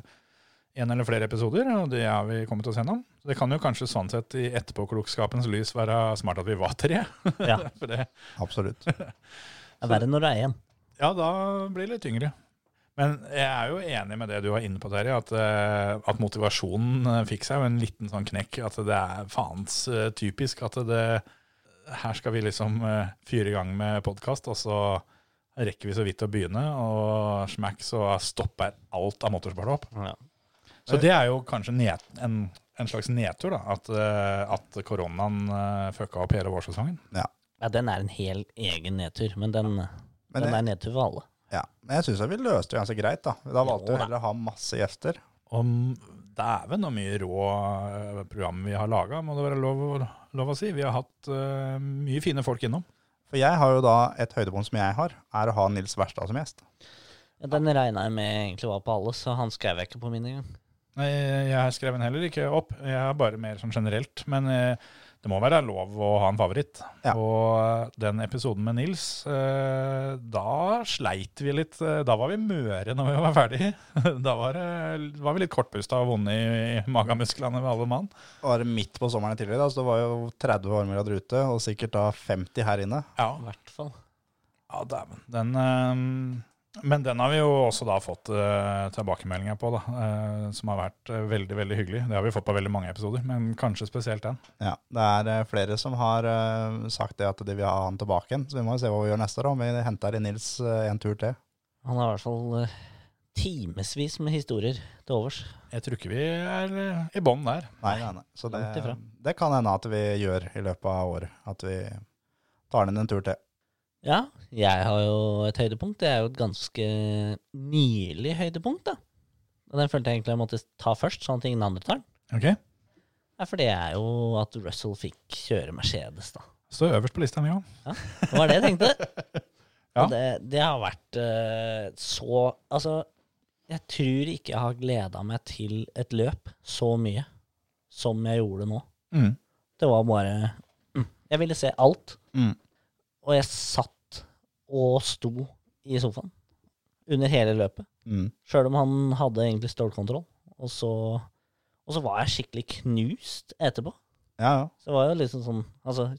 en eller flere episoder, og det har vi kommet oss gjennom. Så det kan jo kanskje sånn sett i etterpåklokskapens lys være smart at vi var tre.
Ja.
For det,
Absolutt.
Det er verre når det er én.
ja, da blir det litt tyngre. Men jeg er jo enig med det du var inne på, Terje, at, eh, at motivasjonen eh, fikk seg jo en liten sånn knekk. At det er faens eh, typisk at det Her skal vi liksom eh, fyre i gang med podkast, og så rekker vi så vidt å begynne, og smack, så stopper alt av motorsport opp.
Ja.
Så det er jo kanskje ned, en, en slags nedtur, da. At, eh, at koronaen eh, fucka opp hele vårsesongen.
ja, den er en hel egen nedtur, men den,
Men
den
jeg,
er nedtur for alle.
ja, men jeg syns vi løste det ganske greit. Da Da valgte
Jo
vi
da.
heller å ha masse gjester.
Om dæven så mye rå eh, program vi har laga, må det være lov, å- lov å si. Vi har hatt eh, mye fine folk innom.
For jeg har jo da et høydepunkt som jeg har, er å ha Nils Verstad som gjest.
Ja, den regna jeg med egentlig var på alle, så han skrev jeg ikke på min engang.
Nei, jeg har skrevet den heller ikke opp, jeg er bare mer sånn generelt. Men eh, det må være lov å ha en favoritt.
Ja.
Og eh, den episoden med Nils, eh, da sleit vi litt. eh, Da var vi møre når vi var ferdig. Da var, det- var vi litt kortpusta og vonde i i magemusklene ved alle mann.
Det var midt på sommeren tidligere, da, så det var jo 30 varmegrader ute, og sikkert da 50 her inne.
Ja,
I hvert fall.
Ja, dæven. Den, eh, men den har vi jo også da fått eh, tilbakemeldinger på, da, eh, som har vært eh, veldig veldig hyggelig. Det har vi fått på veldig mange episoder, men kanskje spesielt den.
Ja, Det er eh, flere som har eh, sagt det at de vil ha han tilbake igjen, så vi må jo se hva vi gjør neste år. da, Om vi henter inn Nils eh, en tur til.
Han har i hvert fall uh, timevis med historier til overs.
Jeg tror ikke vi er eh, i bånn der.
Nei, nei, nei. Så det,
langt ifra.
det kan hende at vi gjør i løpet av året. At vi tar den en tur til.
Ja, jeg har jo et høydepunkt. Det er jo et ganske nylig høydepunkt, da. Og den følte jeg egentlig jeg måtte ta først, sånn at ingen andre tar den.
Ok,
Ja, for det er jo at Russell fikk kjøre Mercedes, da.
Står øverst på lista mi òg.
Det var det jeg tenkte.
Ja.
Og det, det har vært eh, så Altså, jeg tror ikke jeg har gleda meg til et løp så mye som jeg gjorde nå.
Mm.
Det var bare mm, Jeg ville se alt.
Mm.
Og jeg satt og sto i sofaen under hele løpet.
Mm.
Sjøl om han hadde egentlig stålkontroll. Og så, og så var jeg skikkelig knust etterpå.
Ja, ja.
Så det var jo liksom sånn Altså,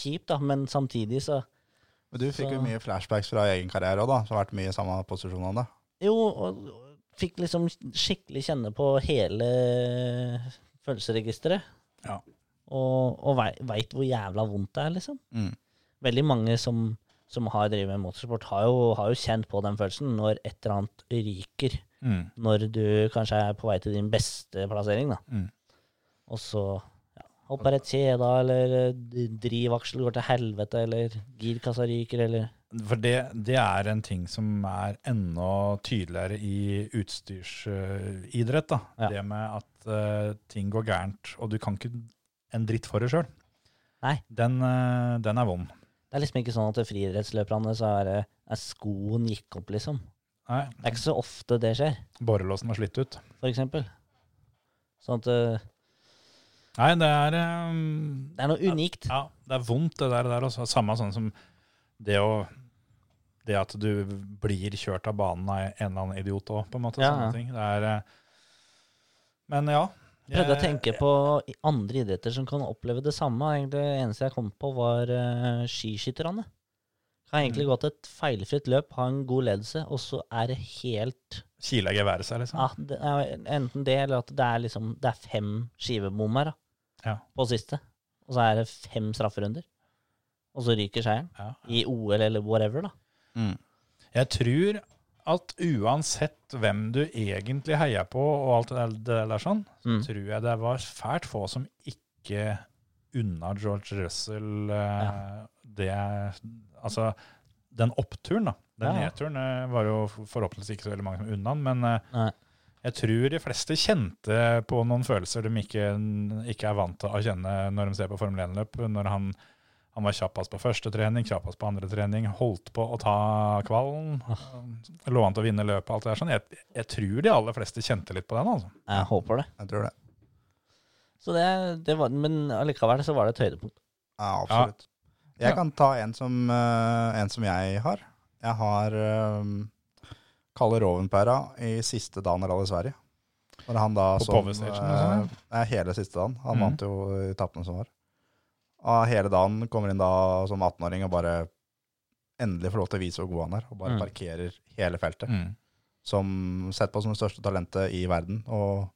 kjipt, da, men samtidig så
Men du fikk jo
Så-
mye flashbacks fra egen karriere òg, da. Som har vært mye i samme posisjon som deg.
Jo, og og fikk liksom skikkelig kjenne på hele følelsesregisteret.
Ja.
Og, og veit hvor jævla vondt det er, liksom.
Mm.
Veldig mange som, som har drevet med motorsport, har jo, har jo kjent på den følelsen når et eller annet ryker.
Mm.
Når du kanskje er på vei til din beste plassering, da.
Mm.
Og så ja, hopper et kjede, eller eh, drivaksel går til helvete, eller girkassa ryker, eller
For det, det er en ting som er enda tydeligere i utstyrsidrett. da.
Ja.
Det med at eh, ting går gærent, og du kan ikke en dritt for det sjøl.
Nei.
Den, eh, den er vond.
Det er liksom ikke sånn at det friidrettsløperne så er, det- er skoen gikk opp, liksom.
Nei,
Det er ikke så ofte det skjer,
Borrelåsen var slitt ut.
for eksempel. Sånn at eh,
Nei, det er ehm,
Det er noe unikt.
Ja, det er vondt det der, det der også. Samme sånn som det å Det at du blir kjørt av banen av en eller annen idiot òg, på en måte.
Ja, ja.
Sånne ting. Det er eh, Men ja.
Jeg prøvde å tenke på i- andre idretter som kan oppleve det samme. Egentlig, det eneste jeg kom på, var uh, skiskytterne. Kan egentlig
Mm.
gå til et feilfritt løp, ha en god ledelse, og så er det helt
Kile geværet seg, liksom.
ja, det er Enten det, eller at det er, liksom, det er fem skivebommer da,
Ja.
på siste. Og så er det fem strafferunder. Og så ryker seieren.
Ja.
I OL eller whatever, da.
Jeg tror at uansett hvem du egentlig heier på og alt det der, det der sånn, så
Mm.
tror jeg det var fælt få som ikke unna George Russell eh, det Altså, den oppturen, da. Den
Ja, ja.
nedturen eh, var jo forhåpentligvis ikke så veldig mange som unna den, men eh,
Nei.
jeg tror de fleste kjente på noen følelser de ikke, ikke er vant til å kjenne når de ser på Formel 1-løp. Når han, han var kjappest på første trening, kjappest på andre trening, holdt på å ta kvallen.
Ah.
Lå an til å vinne løpet og alt det der. Sånn. Jeg, jeg tror de aller fleste kjente litt på den. altså.
Jeg håper det.
Jeg tror det.
Så det, det var, men allikevel så var det et høydepunkt.
Ja, absolutt.
Ja.
Jeg kan ta en som, eh, en som jeg har. Jeg har eh, Kalle Rovenpera i siste dagen av Rally Sverige. Når han da
På Power Station og sånn,
eh, nei, hele siste dagen. Han
Mhm.
vant jo etappene som var. Og hele dagen kommer inn da som 18-åring og bare endelig får lov til å vise hvor god han er, og bare
Mhm.
parkerer hele feltet. Som sett på som det største talentet i verden. Og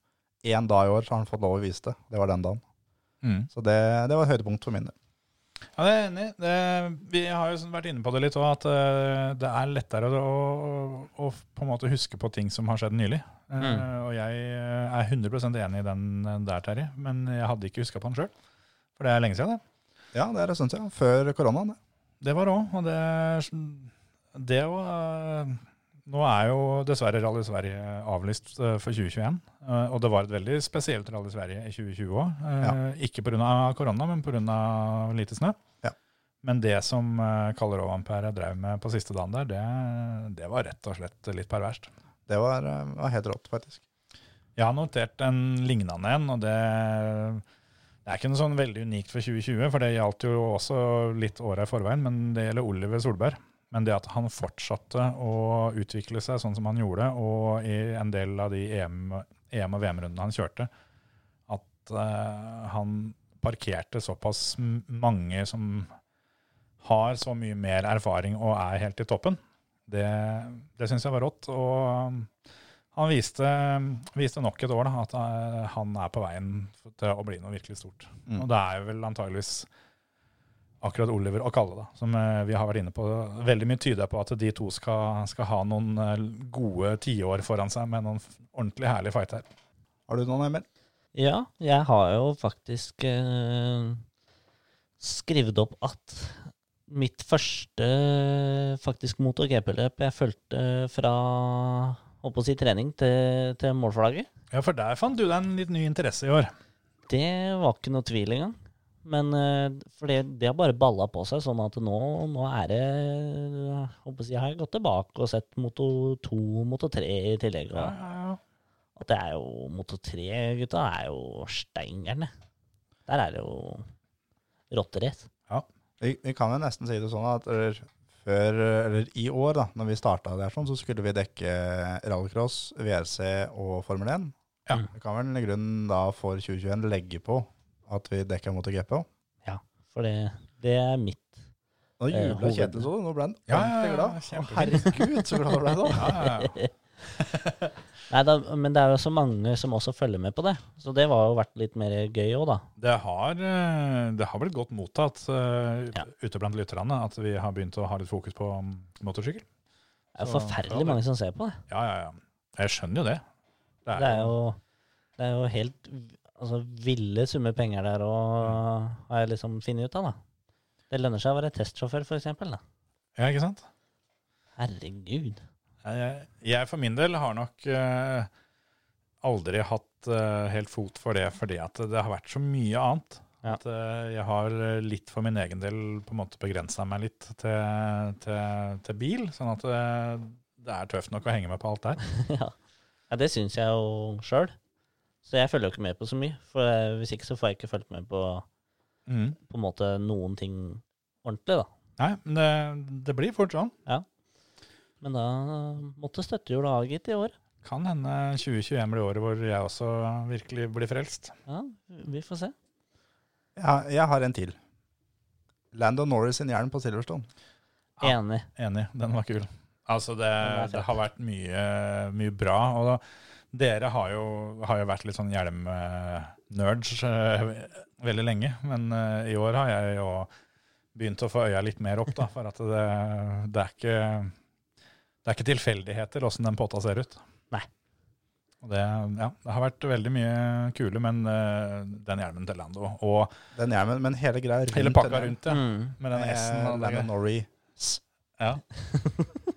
én dag i år så har han fått lov å vise det. Det var den dagen.
Mm.
Så det, det var et høydepunkt for min del.
Ja, det er jeg enig. i. Det- Vi har jo sånn vært inne på det litt òg, at eh, det er lettere å, å, å på en måte huske på ting som har skjedd nylig. Eh,
Mm.
Og jeg eh, er 100 enig i den eh, der, Terje, men jeg hadde ikke huska på den sjøl. For det er lenge siden, det.
Ja, det er det, syns jeg. Før koronaen. det.
Det var òg, og det Det òg eh, Nå er jo dessverre Rally Sverige avlyst eh, for 2021. eh, Og det var et veldig spesielt Rally Sverige i 2020 òg.
Ja.
Ikke pga. korona, men pga. lite snø.
Ja.
Men det som eh, Kalle Rovanpere drev med på siste dagen der, det, det var rett og slett litt perverst.
Det var, eh, var helt rått, faktisk.
Jeg har notert en lignende en, og det, det er ikke noe sånn veldig unikt for 2020, for det gjaldt jo også litt året i forveien, men det gjelder Oliver Solberg. Men det at han fortsatte å utvikle seg sånn som han gjorde, og i en del av de EM, EM- og VM-rundene han kjørte, at eh, han parkerte såpass m- mange som har så mye mer erfaring og er helt i toppen, det, det syns jeg var rått. og... Han viste, viste nok et år da, at eh, han er på veien til å bli noe virkelig stort.
Mm.
Og det er jo vel antageligvis akkurat Oliver og Kalle, da, som eh, vi har vært inne på. Veldig mye tyder på at de to skal, skal ha noen eh, gode tiår foran seg med noen f- ordentlig herlige fighter.
Har du noen, Emil?
Ja, jeg har jo faktisk eh, skrevet opp at mitt første eh, faktisk motor-GP-løp jeg fulgte fra holdt på å si trening til, til målflagget,
Ja, for der fant du deg en litt ny interesse i år.
det var ikke noe tvil engang. Men eh, for det, det har bare balla på seg, sånn at nå, nå er det eh, holdt på å si, Jeg har gått tilbake og sett Moto 2, Moto 3 i tillegg. Og,
Ja, ja, ja.
At det er jo Moto 3, gutta, er jo steingerne. Der er det jo rotterace.
Vi, vi kan jo nesten si det sånn at eller, før, eh, eller i år, da når vi starta der, sånn, så skulle vi dekke eh, rallycross, WRC og Formel 1.
Ja.
Vi kan vel i grunnen da for 2021 legge på at vi dekker MotoGP. også.
For det, det er mitt.
Nå
Eh,
jubla
hoved-
Kjetil så, nå ble han
Ja,
ordentlig
ja, ja,
glad. Å,
kjempefint.
herregud, så glad han ble sånn. nå.
Ja, ja, ja.
Nei, da, men det er jo så mange som også følger med på det. Så det var jo vært litt mer gøy òg, da.
Det har, eh, det har blitt godt mottatt eh,
Ja.
ute blant lytterne at vi har begynt å ha litt fokus på mm, motorsykkel.
Det er
Så, ja,
jo forferdelig
det-
mange som ser på det.
Ja, ja, ja. Jeg skjønner jo det. Det
Det er jo, det er jo helt altså, ville summer penger der
Mm.
og har jeg liksom funnet ut av, da. Det lønner seg å være testsjåfør, for eksempel. Da.
Ja, ikke sant?
Herregud.
Jeg, jeg for min del har nok eh, aldri hatt eh, helt fot for det, fordi at det har vært så mye annet.
Ja.
At eh, jeg har eh, litt for min egen del på en måte begrensa meg litt til, til, til bil, sånn at eh, det er tøft nok å henge med på alt der.
ja. ja, det syns jeg jo sjøl. Så jeg følger jo ikke med på så mye. For eh, hvis ikke så får jeg ikke fulgt med på
Mm.
på en måte noen ting ordentlig, da.
Nei, men det, det blir fort sånn.
Men da måtte støttehjul ha gitt i år.
Kan hende 2021 blir året hvor jeg også virkelig blir frelst.
Ja, vi får se.
Ja, jeg har en til. Lando Norris sin jern på Silverstone.
Ja.
Enig.
Enig, den var kul. Altså, det,
er
det
fett.
har vært mye, mye bra. Og da, dere har jo, har jo vært litt sånn hjelm-nerds eh, veldig lenge, men eh, i år har jeg jo begynt å få øya litt mer opp, da, for at det, det er ikke det er ikke tilfeldigheter åssen den potta ser ut.
Nei.
Og det, ja, det har vært veldig mye kule, men eh, den hjelmen til Lando og
Den hjelmen, men hele greia rundt
hele
den
pakka
hjelmen.
rundt, ja,
Mm.
med den S-en og
Eh,
det
Lando
greiene.
Norris.
Ja.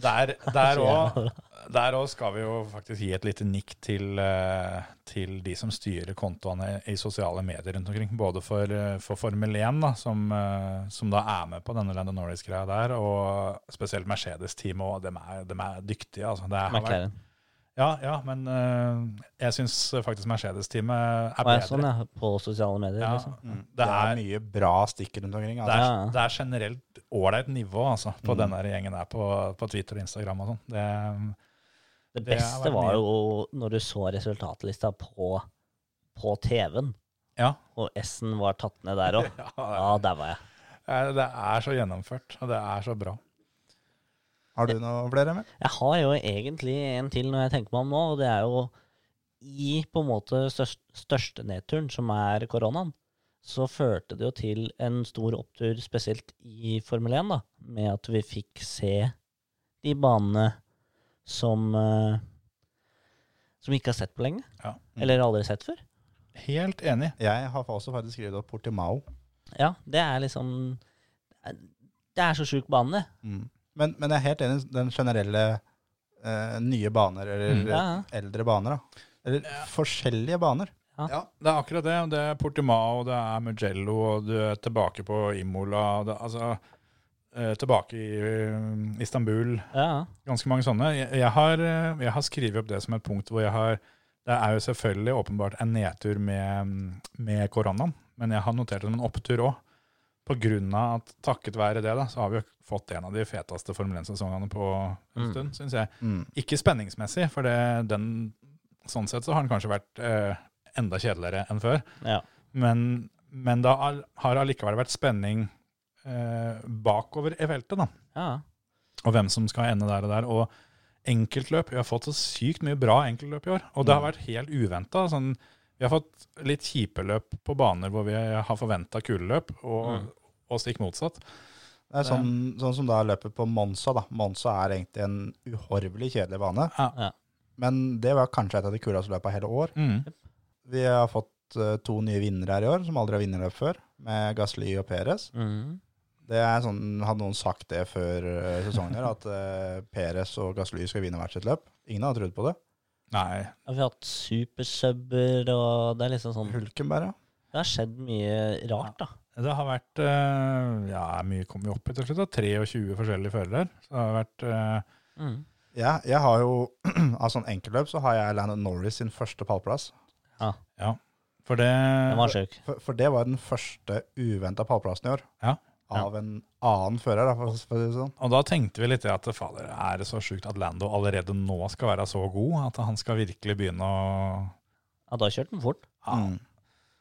Der, der
Så
også
jævla bra.
der òg skal vi jo faktisk gi et lite nikk til, eh, til de som styrer kontoene i sosiale medier rundt omkring. Både for, eh, for Formel 1, da, som, eh, som da er med på denne Lando Norris-greia der, og spesielt Mercedes-teamet òg. De, er- de er dyktige. Altså. Det har vært,
McLaren.
ja, ja, men eh, jeg syns faktisk Mercedes-teamet er
Å, ja, sånn,
bedre.
ja. På sosiale medier,
Ja, mm.
liksom.
det
Mm. Det er
er,
mye bra stikker rundt omkring.
det
Altså.
Ja, ja.
er, det er generelt ålreit nivå altså,
Mm.
på den der gjengen der på, på Twitter og Instagram og sånn. Det-
Det
Det har
beste
vært
var
mye.
jo når du så resultatlista på, på TV-en,
Ja.
og S-en var tatt ned der òg. Ja, der var jeg.
Eh, Det er så gjennomført, og det er så bra.
Har du noe flere med?
Jeg har jo egentlig en til når jeg tenker meg om nå, og det er jo i på en måte størst, største nedturen, som er koronaen, så førte det jo til en stor opptur, spesielt i Formel 1, da, med at vi fikk se de banene som eh, som vi ikke har sett på lenge.
Ja. Mm.
Eller aldri sett før.
Helt enig.
Jeg har også faktisk skrevet opp Portimao.
Ja, det er liksom Det er så sjuk bane, det.
Mm. Men, men jeg er helt enig i den generelle eh, nye baner, eller
Mm. Ja,
eldre baner. da. Eller forskjellige baner.
Ja, Det er akkurat det. og Det er Portimao, det er Mugello, og du er tilbake på Imola. og Det, altså, eh, tilbake i eh, Istanbul.
Ja,
Ganske mange sånne. Jeg, jeg, har, eh, jeg har skrevet opp det som et punkt hvor jeg har Det er jo selvfølgelig åpenbart en nedtur med, med koronaen, men jeg har notert det som en opptur òg. På grunn av at takket være det, da, så har vi jo fått en av de feteste Formel 1-sesongene på en
Mm.
stund, syns jeg.
Mm.
Ikke spenningsmessig, for det, den, sånn sett så har den kanskje vært eh, enda kjedeligere enn før.
ja.
Men, men det har- har allikevel vært spenning eh, bakover i feltet, da.
ja.
Og hvem som skal ende der og der. Og enkeltløp. Vi har fått så sykt mye bra enkeltløp i år. Og det har vært helt uventa. Sånn, vi har fått litt kjipe løp på baner hvor vi har forventa kule løp, og,
Mm.
og stikk motsatt.
Det er sånn, sånn som da løpet på Monza. da. Monza er egentlig en uhorvelig kjedelig bane.
Ja.
Ja.
Men det var kanskje et av de kuleste løpene hele år.
Mm.
Vi har fått eh, to nye vinnere her i år, som aldri har vunnet løp før, med Gasly og Perez.
Mm.
Det er sånn, Hadde noen sagt det før eh, sesongen her, at eh, Perez og Gasly skal vinne hvert sitt løp? Ingen hadde trodd på det.
Nei.
Ja, Vi har hatt supersubber, og det er liksom sånn
Hulkenberg, ja.
Det har skjedd mye rart, da.
Det har vært eh, Ja, mye kom vi opp i til slutt. da. 23 forskjellige førere. Så det har vært eh,
Mm.
Ja, jeg har jo, Av sånn enkeltløp så har jeg Landon Norris sin første pallplass.
For det,
Den var sjuk.
For, for det var den første uventa pallplassen i år.
Ja.
Av en annen fører, da, for, for å si det sånn.
Og da tenkte vi litt det at fader, er det så sjukt at Lando allerede nå skal være så god at han skal virkelig begynne å
Ja, da kjørte den fort,
Ja.
Mm.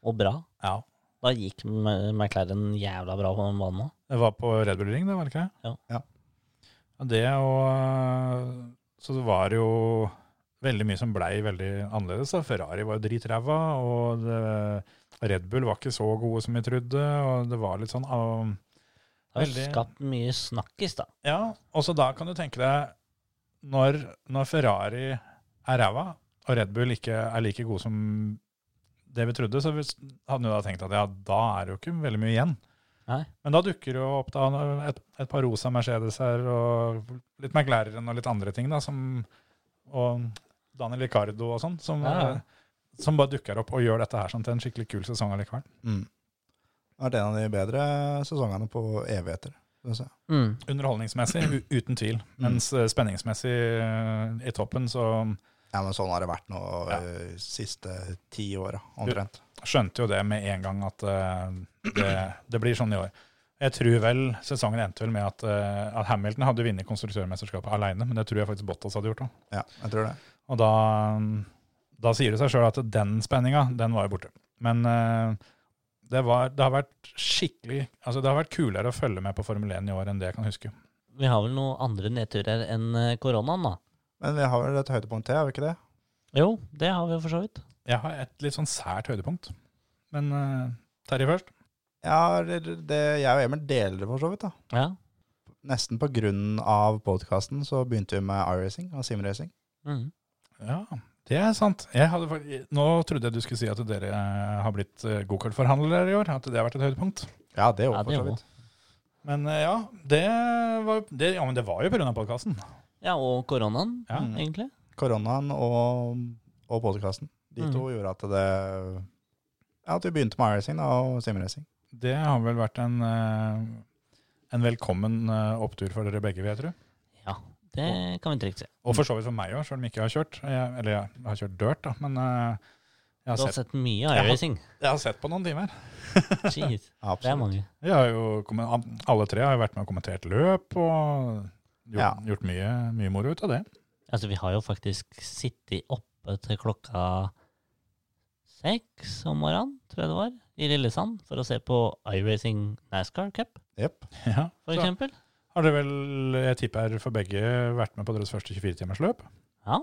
og bra.
ja.
Da gikk M- McLaren jævla bra på den banen òg.
Det var på Red Bull Ring, det var det ikke?
Ja.
Ja.
Ja, Det og eh, Så det var jo veldig mye som blei veldig annerledes. Da. Ferrari var jo dritræva, og det, Red Bull var ikke så gode som vi trodde. og det var litt sånn... ah,
Det har
Veldig.
skapt mye snakkis, da.
Ja, og så da kan du tenke deg når, når Ferrari er ræva, og Red Bull ikke er like god som det vi trodde, så hvis- hadde du da tenkt at ja, da er det jo ikke veldig mye igjen.
Nei.
Men da dukker det jo opp da et, et par rosa Mercedeser og litt McLaren og litt andre ting, da, som, og Daniel Ricardo og sånn, som,
Ja.
eh, som bare dukker opp og gjør dette her sånn til en skikkelig kul sesong allikevel.
Mm. Det har vært en av de bedre sesongene på evigheter. Synes jeg.
Mm.
Underholdningsmessig, u uten tvil. Mens eh, spenningsmessig eh, i toppen, så
Ja, men sånn har det vært nå
Ja.
eh, siste ti åra, omtrent.
skjønte jo det med en gang at eh, det, det blir sånn i år. Jeg tror vel sesongen endte vel med at, eh, at Hamilton hadde vunnet konstruktørmesterskapet alene, men det tror jeg faktisk Bottas hadde gjort òg.
Ja, jeg tror det.
Og da, da sier det seg sjøl at den spenninga, den var jo borte. Men eh, det, var, det har vært skikkelig Altså, det har vært kulere å følge med på Formel 1 i år enn det jeg kan huske.
Vi har vel noen andre nedturer enn eh, koronaen, da.
Men vi har vel et høydepunkt til, har vi ikke det?
Jo, det har vi jo for så vidt.
Jeg har et litt sånn sært høydepunkt. Men eh, Terje først.
Ja, det, det, jeg og Emil deler det for så vidt, da.
Ja.
Nesten på grunn av podkasten så begynte vi med iRacing og simracing.
Mhm.
Ja, det er sant. Jeg hadde, fak- nå trodde jeg du skulle si at dere eh, har blitt eh, gokartforhandlere i år. At det har vært et høydepunkt.
Ja, det òg,
Ja, det
for så vidt.
Men eh, ja, det var, det, ja, men det var jo pga. podkasten.
ja, og koronaen,
Ja.
egentlig.
Koronaen og, og podkasten. De to
Mhm.
gjorde at det ja, at vi begynte med iRacing da, og simracing.
Det har vel vært en, eh, en velkommen eh, opptur for dere begge, vil jeg tro.
Ja, det kan vi trygt si.
Og for så vidt for meg òg, selv om jeg ikke har kjørt. Jeg, eller jeg har kjørt dirt, da. Men eh, jeg,
Du
har
har
sett,
sett mye
Jeg har-
iRacing.
jeg har sett på noen timer.
Jeez, det er
Absolutt.
mange.
Vi har jo, kommen- alle tre har jo vært med og kommentert løp og gjort,
Ja.
gjort mye, mye moro ut av det.
Altså, vi har jo faktisk sittet oppe til klokka seks om morgenen, tror jeg det var, i Lillesand, for å se på iRacing NASCAR Cup,
Jepp.
Ja.
for
Så-
eksempel.
Har dere vel, jeg tipper for begge, vært med på deres første 24-timersløp
Ja.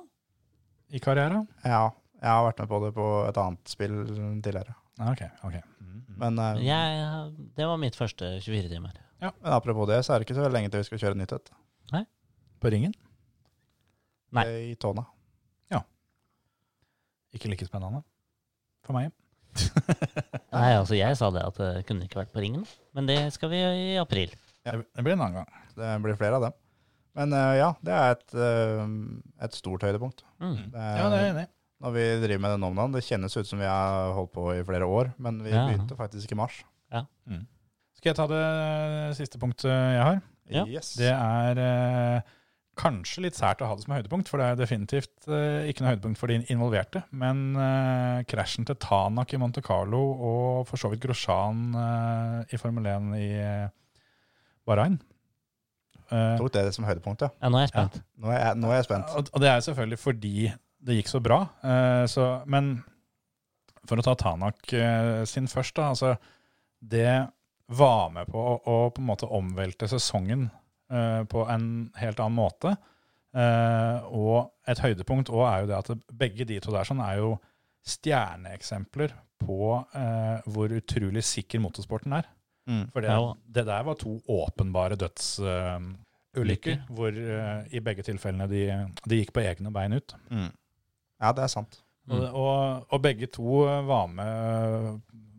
i karriere?
Ja, jeg har vært med på det på et annet spill tidligere.
Ah, ok, ok.
Men, eh,
Jeg, det var mitt første 24 timer.
men apropos det, så er det ikke så veldig lenge til vi skal kjøre nytt et.
På ringen?
Nei.
Det er I Tåna.
Ikke like spennende for meg.
Nei, altså, jeg sa det at det kunne ikke vært på ringen, men det skal vi gjøre i april.
Ja.
Det det blir en annen gang.
Det blir flere av dem. Men eh, ja, det er et, eh, et stort høydepunkt.
Mm.
Det er,
Ja, det er jeg enig i.
Når vi driver med den om dagen, det kjennes ut som vi har holdt på i flere år, men vi
Ja.
begynte faktisk i mars.
Skal jeg ta det eh, siste punktet jeg har?
Ja.
Yes.
Det er eh, kanskje litt sært å ha det som høydepunkt, for det er definitivt eh, ikke noe høydepunkt for de involverte. Men eh, krasjen til Tanak i Monte Carlo og for så vidt Grosjean eh, i Formel 1 i eh, Bahrain. Eh,
tok det som høydepunkt, ja.
Ja, nå er jeg spent.
Nå er jeg, nå er jeg spent.
Og, og det er selvfølgelig fordi det gikk så bra. eh, så, men for å ta Tanak eh, sin først, da. Altså, det var med på å, å på en måte omvelte sesongen eh, på en helt annen måte. Eh, og et høydepunkt òg er jo det at begge de to der sånn er jo stjerneeksempler på eh, hvor utrolig sikker motorsporten er.
Mm.
For det,
Ja.
det der var to åpenbare eh, dødsulykker,
Ulykker.
hvor eh, i begge tilfellene de, de gikk på egne bein ut.
Mm. Ja, det er sant.
Og, og, og begge to var med eh,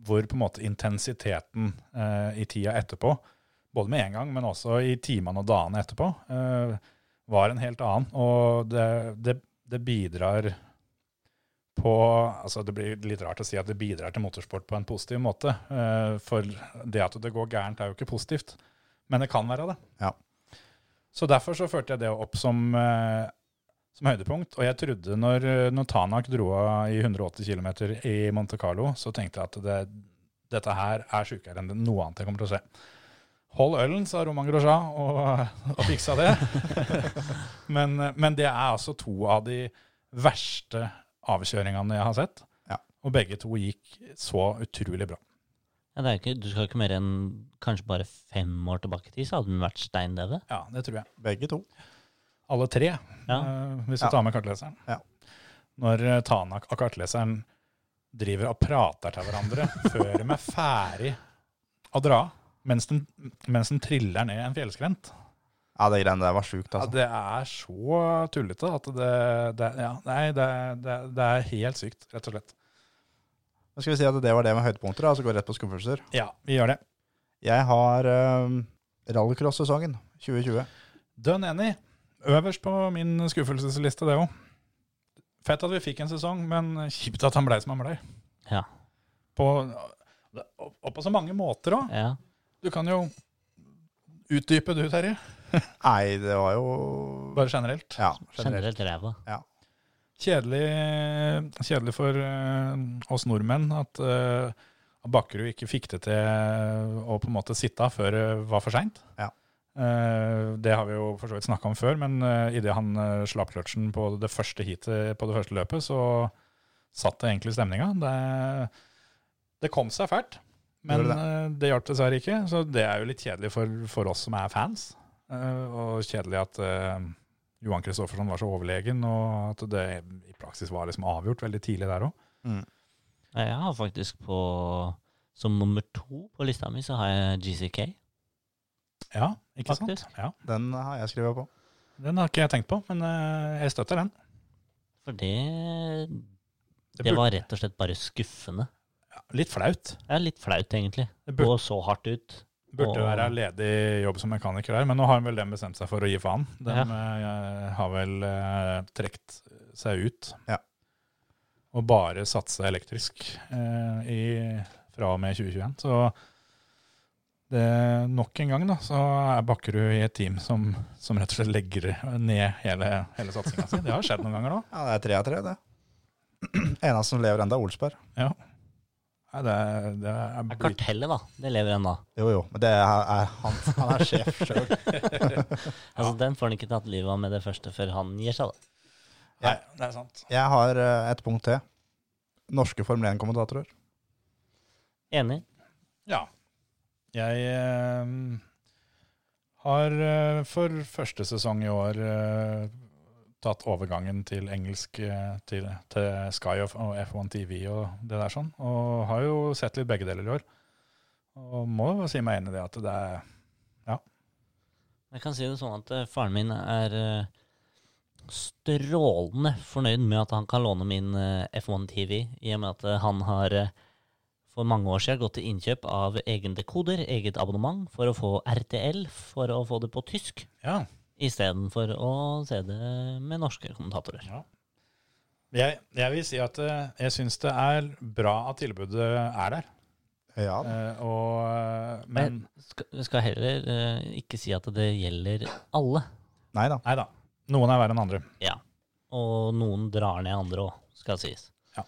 hvor på en måte intensiteten eh, i tida etterpå, både med en gang, men også i timene og dagene etterpå, eh, var en helt annen. Og det, det, det bidrar på altså Det blir litt rart å si at det bidrar til motorsport på en positiv måte. eh, For det at det går gærent, er jo ikke positivt, men det kan være det.
Ja.
Så derfor så førte jeg det opp som eh, som høydepunkt. Og jeg trodde når, når Tanak dro av i 180 km i Monte Carlo, så tenkte jeg at det, dette her er sjukere enn noe annet jeg kommer til å se. Hold ølen, sa Roman Grosjean, og, og fiksa det. men, men det er altså to av de verste avkjøringene jeg har sett.
Ja.
Og begge to gikk så utrolig bra.
Ja, det er ikke, du skal ikke mer enn kanskje bare fem år tilbake i tid, så hadde den vært steindøde.
Ja, det tror jeg.
Begge to.
alle tre,
Ja.
eh, hvis
Ja.
du tar med kartleseren.
Ja.
Når eh, Tanak og kartleseren driver og prater til hverandre før de er ferdig å dra, mens den, mens den triller ned en fjellskrent.
Ja, det greiene der var sjukt,
Ja,
altså.
det er så tullete at det, det, ja, nei, det, det, det er helt sykt, rett og slett.
Nå skal vi si at det var det med høydepunkter, da, så går vi rett på skuffelser.
Ja, vi gjør det.
Jeg har um, rallycross-sesongen 2020.
Dønn enig. Øverst på min skuffelsesliste, det òg. Fett at vi fikk en sesong, men kjipt at han blei som han blei.
Ja.
På, og på så mange måter òg.
Ja.
Du kan jo utdype du, Terje.
Nei, det var jo
Bare generelt.
Ja, generelt.
Generelt ræva.
Kjedelig, kjedelig for eh, oss nordmenn at eh, at Bakkerud ikke fikk det til eh, å på en måte sitte av før det var for seint.
Ja.
det har vi jo for så vidt snakka om før, men eh, i idet han eh, slapp kløtsjen på det første heatet eh, på det første løpet, så satt det egentlig stemninga. Det, det kom seg fælt, men
Gjorde
eh, det, hjalp dessverre ikke. Så det er jo litt kjedelig for, for oss som er fans, eh, og kjedelig at eh, Johan Kristoffersen var så overlegen, og at det i praksis var liksom avgjort veldig tidlig der òg.
Mm.
Nei, Jeg har faktisk på Som nummer to på lista mi, så har jeg GCK.
Ja, ikke sant?
Faktisk.
Ja.
Den har jeg skrevet på.
Den har ikke jeg tenkt på, men eh, jeg støtter den.
For det
Det
Det
burde-
var rett og slett bare skuffende.
Litt flaut.
Det er litt flaut, egentlig.
Det burde,
Gå så hardt ut.
burde
og-
være ledig jobb som mekaniker der, men nå har vel den bestemt seg for å gi faen. Den
Ja.
eh, har vel uh, trekt seg ut.
Ja.
Og bare satse elektrisk eh, i, fra og med 2021. Så det, nok en gang da, så er Bakkerud i et team som, som rett og slett legger ned hele, hele satsinga si. Det har skjedd noen ganger nå.
Ja, det er tre av tre, det. Eneste som lever enda, er Olsberg.
Nei, det, er- det er
Det er
blitt-
kartellet, da. Det lever ennå.
Jo, jo, men det er, er han, han er sjef sjøl.
Altså, Den får han ikke tatt livet av med det første før han gir seg, da.
Nei, det er sant.
Jeg har eh, et punkt til. Norske Formel 1-kommentatorer.
Enig.
Ja. Jeg eh, har eh, for første sesong i år eh, tatt overgangen til engelsk eh, til, til Sky og, og F1 TV og det der sånn, og har jo sett litt begge deler i år. Og må jo si meg enig i det at det er
Jeg kan si det sånn at eh, faren min er eh, strålende fornøyd med at han kan låne min eh, F1 TV, i og med at eh, han har eh, for mange år siden gått til innkjøp av egen dekoder, eget abonnement, for å få RTL, for å få det på tysk,
Ja.
istedenfor å se det med norske kommentatorer.
Jeg, jeg vil si at eh, jeg syns det er bra at tilbudet er der.
Ja,
eh, Og, eh, men
Men skal, skal heller eh, ikke si at det gjelder alle,
nei da.
nei da. Noen er verre enn andre.
og noen drar ned andre òg, skal sies.
Ja.